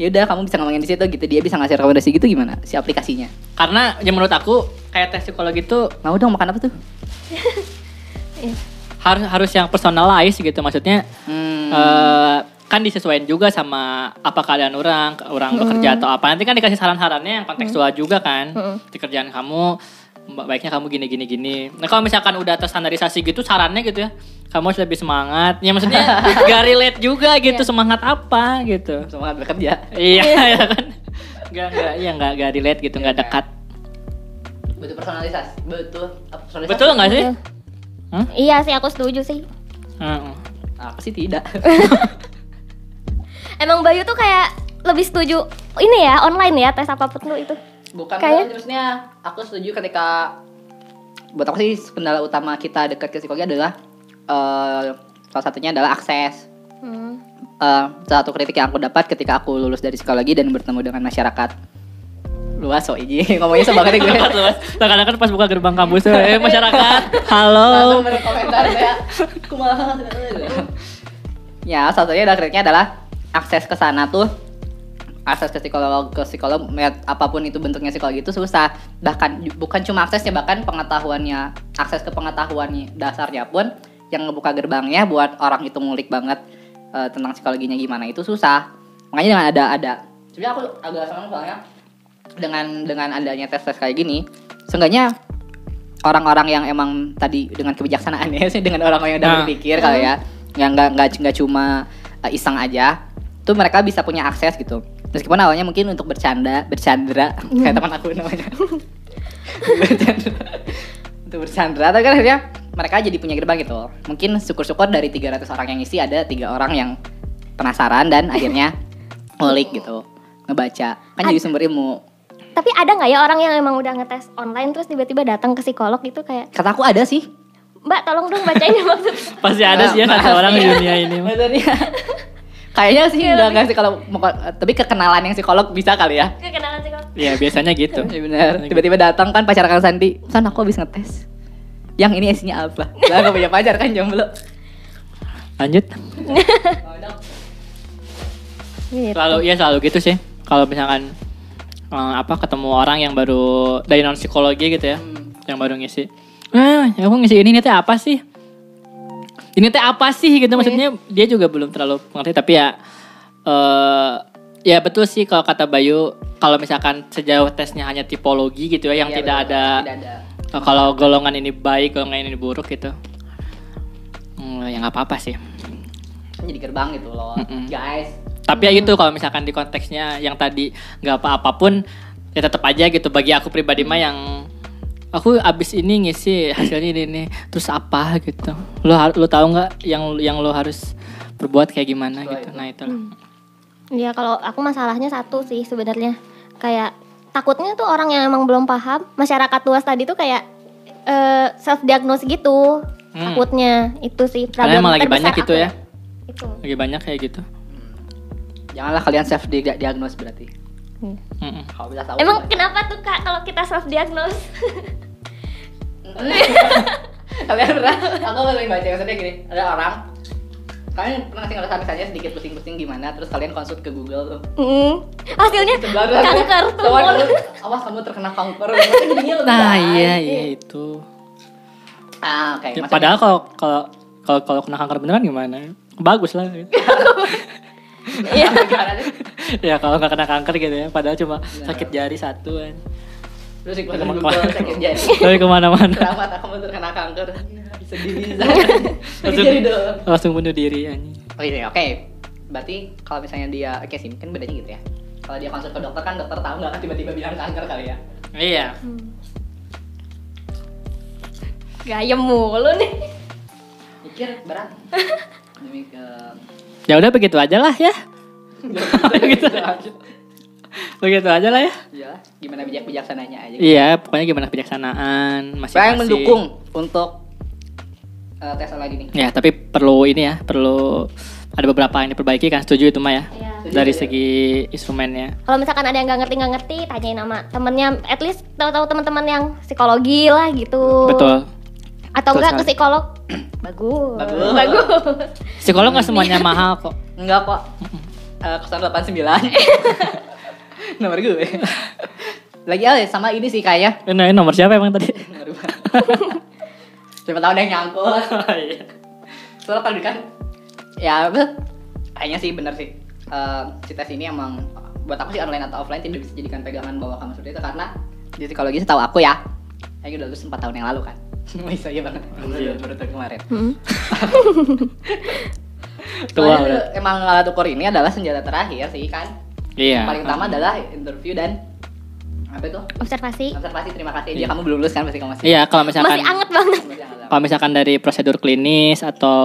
S1: ya udah kamu bisa ngomongin di situ gitu dia bisa ngasih rekomendasi gitu gimana si aplikasinya
S2: Karena yang menurut aku kayak tes psikologi itu
S1: mau dong makan apa tuh
S2: harus harus yang personalized gitu maksudnya
S1: Hmm.
S2: eh, kan disesuaikan juga sama apa keadaan orang orang bekerja atau apa nanti kan dikasih saran-sarannya yang kontekstual juga kan di kerjaan kamu ba- baiknya kamu gini gini gini nah kalau misalkan udah terstandarisasi gitu sarannya gitu ya kamu harus lebih semangat ya maksudnya gak relate juga gitu semangat apa gitu
S1: semangat bekerja
S2: iya ya kan gak gak ya gak gak relate gitu gak dekat
S1: betul personalisasi betul apa, personalisasi
S2: betul nggak sih Hah?
S3: Iya sih aku setuju sih.
S2: Heeh.
S1: aku sih tidak
S3: Emang Bayu tuh kayak lebih setuju ini ya online ya tes apapun tuh itu.
S1: Bukan
S3: Kayak-
S1: berarti, maksudnya aku setuju ketika buat aku sih kendala utama kita dekat ke psikologi adalah eh, salah satunya adalah akses.
S3: Hmm.
S1: Eh, salah satu kritik yang aku dapat ketika aku lulus dari psikologi dan bertemu dengan masyarakat luas so izin ngomongnya sebagai gue.
S2: Tempat luas. Kadang-kadang kan pas buka gerbang kampus tuh, eh masyarakat, halo.
S1: Langsung berkomentar ya. saya kumaha. ya salah satunya adalah kritiknya adalah akses ke sana tuh akses ke psikolog ke psikolog met- apapun itu bentuknya psikologi itu susah bahkan ju- bukan cuma aksesnya bahkan pengetahuannya akses ke pengetahuan dasarnya pun yang ngebuka gerbangnya buat orang itu ngulik banget eh, tentang psikologinya gimana itu susah makanya dengan ada ada sebenarnya aku agak senang soalnya dengan dengan adanya tes tes kayak gini seenggaknya orang-orang yang emang tadi dengan kebijaksanaannya sih dengan orang-orang yang udah
S2: Nah.
S1: berpikir kalau ya yang nggak nggak nggak cuma eh, iseng aja tuh mereka bisa punya akses gitu meskipun awalnya mungkin untuk bercanda bercandra kayak teman aku namanya bercandra untuk bercandra tapi kan akhirnya mereka jadi punya gerbang gitu mungkin syukur-syukur dari 300 orang yang isi ada tiga orang yang penasaran dan akhirnya ngulik gitu ngebaca kan jadi sumber ilmu
S3: Tapi ada nggak ya orang yang emang udah ngetes online terus tiba-tiba datang ke psikolog gitu kayak
S1: kata aku ada sih
S3: Mbak tolong dong bacain ya maksudnya.
S2: Pasti ada sih ya
S1: Maaf,
S2: satu
S1: maaf,
S2: orang di
S1: iya.
S2: dunia ini.
S1: Maksudnya, kayaknya sih udah nggak sih kalau mau- tapi kekenalan yang psikolog bisa kali ya
S3: Kekenalan psikolog.
S2: Ya biasanya gitu.
S1: Iya benar. Tiba-tiba datang kan pacar Kang Sandi. Kan aku habis ngetes. Yang ini isinya apa? Lah gak punya pacar kan jomblo.
S2: Lanjut.
S3: Gitu.
S2: Selalu ya selalu gitu sih. Kalau misalkan eh, apa ketemu orang yang baru dari non psikologi gitu ya,
S1: Hmm.
S2: yang baru ngisi. Eh, aku ngisi ini ini teh apa sih? Ini teh apa sih
S1: Iya.
S2: gitu maksudnya dia juga belum terlalu mengerti tapi ya eh ya betul sih kalau kata Bayu kalau misalkan sejauh tesnya hanya tipologi gitu ya yang
S1: Iya,
S2: tidak
S1: benar.
S2: ada
S1: tidak ada.
S2: Oh, kalau golongan ini baik, golongan ini buruk gitu. Hmm, ya nggak apa-apa sih.
S1: Kan Jadi gerbang gitu loh.
S2: Mm-mm.
S1: Guys, Hmm.
S2: Tapi ya gitu kalau misalkan di konteksnya yang tadi nggak apa-apa pun ya tetap aja gitu bagi aku pribadi mah yang aku abis ini ngisi hasilnya ini, ini. terus apa gitu lo har- lo tahu nggak yang yang lo harus perbuat kayak gimana
S1: Setelah
S2: gitu
S1: itu.
S2: nah itu
S3: Hmm. Iya kalau aku masalahnya satu sih sebenarnya kayak takutnya tuh orang yang emang belum paham masyarakat luas tadi tuh kayak self diagnose gitu
S2: Hmm.
S3: takutnya itu sih
S2: karena
S3: problem
S2: emang lagi
S3: terbesar
S2: banyak gitu
S3: aku.
S2: ya
S3: Itu.
S2: lagi banyak kayak gitu
S1: Hmm. Janganlah kalian self di- diagnose berarti.
S2: Mm-mm.
S1: Kalau bisa tahu.
S3: Emang
S1: gimana?
S3: kenapa tuh kak kalau kita self diagnose?
S1: kalian pernah? Aku lebih baca maksudnya gini. Ada orang kalian pernah ngasih ngerasain misalnya sedikit pusing-pusing gimana terus kalian konsult ke Google tuh
S3: Hmm. Hasilnya
S1: Baru
S3: kanker
S1: aku-
S3: tuh.
S1: Soalnya dulu, awas kamu terkena kanker Maksudnya jadinya lebih
S2: nah
S1: baik.
S2: iya iya itu
S1: ah oke
S2: Ya,
S1: maksudnya-
S2: padahal kalau kalau kalau kalau kena kanker beneran gimana bagus lah gitu.
S1: Iya. Gimana sih?
S2: ya kalau nggak kena kanker gitu ya padahal cuma sakit jari satu kan
S1: terus ikutin Google sakit jari
S2: dari kemana-mana
S1: kenapa tak kamu terkena kanker sedih bisa sakit
S2: langsung
S1: jari doang
S2: langsung bunuh diri anjing
S1: Oh iya, oke. Berarti kalau misalnya dia, oke sih, mungkin bedanya gitu ya. Kalau dia konsul ke dokter kan dokter tahu nggak kan tiba-tiba bilang kanker kali ya.
S2: iya
S3: Hmm. Gayem mulu nih.
S1: Mikir berat. Demi ke
S2: ya udah begitu aja lah ya
S1: gitu.
S2: begitu aja lah ya
S1: Iyalah, gimana bijak bijaksananya aja.
S2: iya pokoknya gimana kebijaksanaan masih
S1: Saya yang mendukung untuk eh, tes lagi nih.
S2: ya tapi perlu ini ya perlu ada beberapa yang diperbaiki kan setuju itu mah ya
S3: Iya.
S1: Setuju,
S2: dari
S1: iya.
S2: segi instrumennya
S3: Kalau misalkan ada yang nggak ngerti nggak ngerti, tanyain sama temennya. At least tahu-tahu teman-teman yang psikologi lah gitu.
S2: betul
S3: Atau
S2: Betul
S3: enggak ke
S2: sekali.
S3: psikolog? Bagus.
S1: Bagus.
S2: psikolog nggak semuanya
S1: Iya.
S2: mahal kok
S1: Enggak kok. Eh, Kosan 89. Nomor gue. Lagi ya sama ini sih kayaknya.
S2: Eh, nah, ini nomor siapa emang tadi
S1: Baru. Siapa tahu ada yang nyangkut. Soalnya kalau kan ya apa? kayaknya sih bener sih. Eh, si tes ini emang buat aku sih online atau offline tidak bisa jadikan pegangan bahwa kamu seperti itu karena di psikologi setahu aku ya. Kayaknya udah lulus 4 tahun yang lalu kan. Wih, saya banget. Baru- Baru tahun kemarin.
S3: Hmm.
S2: tua
S1: Soalnya
S2: udah
S1: emang alat ukur ini adalah senjata terakhir sih kan.
S2: iya
S1: Paling utama adalah interview dan apa itu?
S3: Observasi.
S1: Observasi terima kasih
S2: Iya.
S1: aja kamu belum lulus kan pasti kamu masih.
S2: iya kalau misalkan Iya.
S3: Masih anget banget.
S1: Masih angkat.
S2: kalau misalkan dari prosedur klinis atau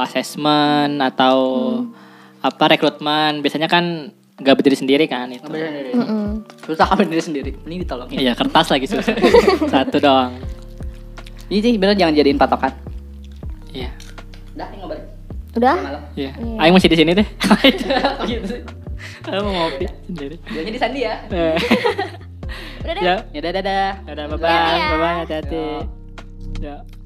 S2: asesmen atau
S1: Hmm.
S2: apa rekrutmen biasanya kan nggak berdiri sendiri kan itu
S1: Nggak bener sendiri.
S3: Mm-mm.
S1: Susah kamu sendiri sendiri. Ini ditolongin.
S2: iya kertas lagi susah satu doang
S1: Ini sih bener jangan jadiin patokan.
S2: iya
S1: Dah, ini ngobrol.
S3: Udah?
S1: Malam.
S2: iya
S3: Iya.
S2: Aing masih di sini deh
S1: Oh, gitu sih.
S2: Aing mau ngopi sendiri
S1: Jadi di Sandi ya.
S2: Eh,
S3: Udah deh.
S2: ya
S1: Ya dadah dadah.
S2: ada bye
S3: Dadah
S2: bye
S3: ya.
S2: bye bye hati-hati ya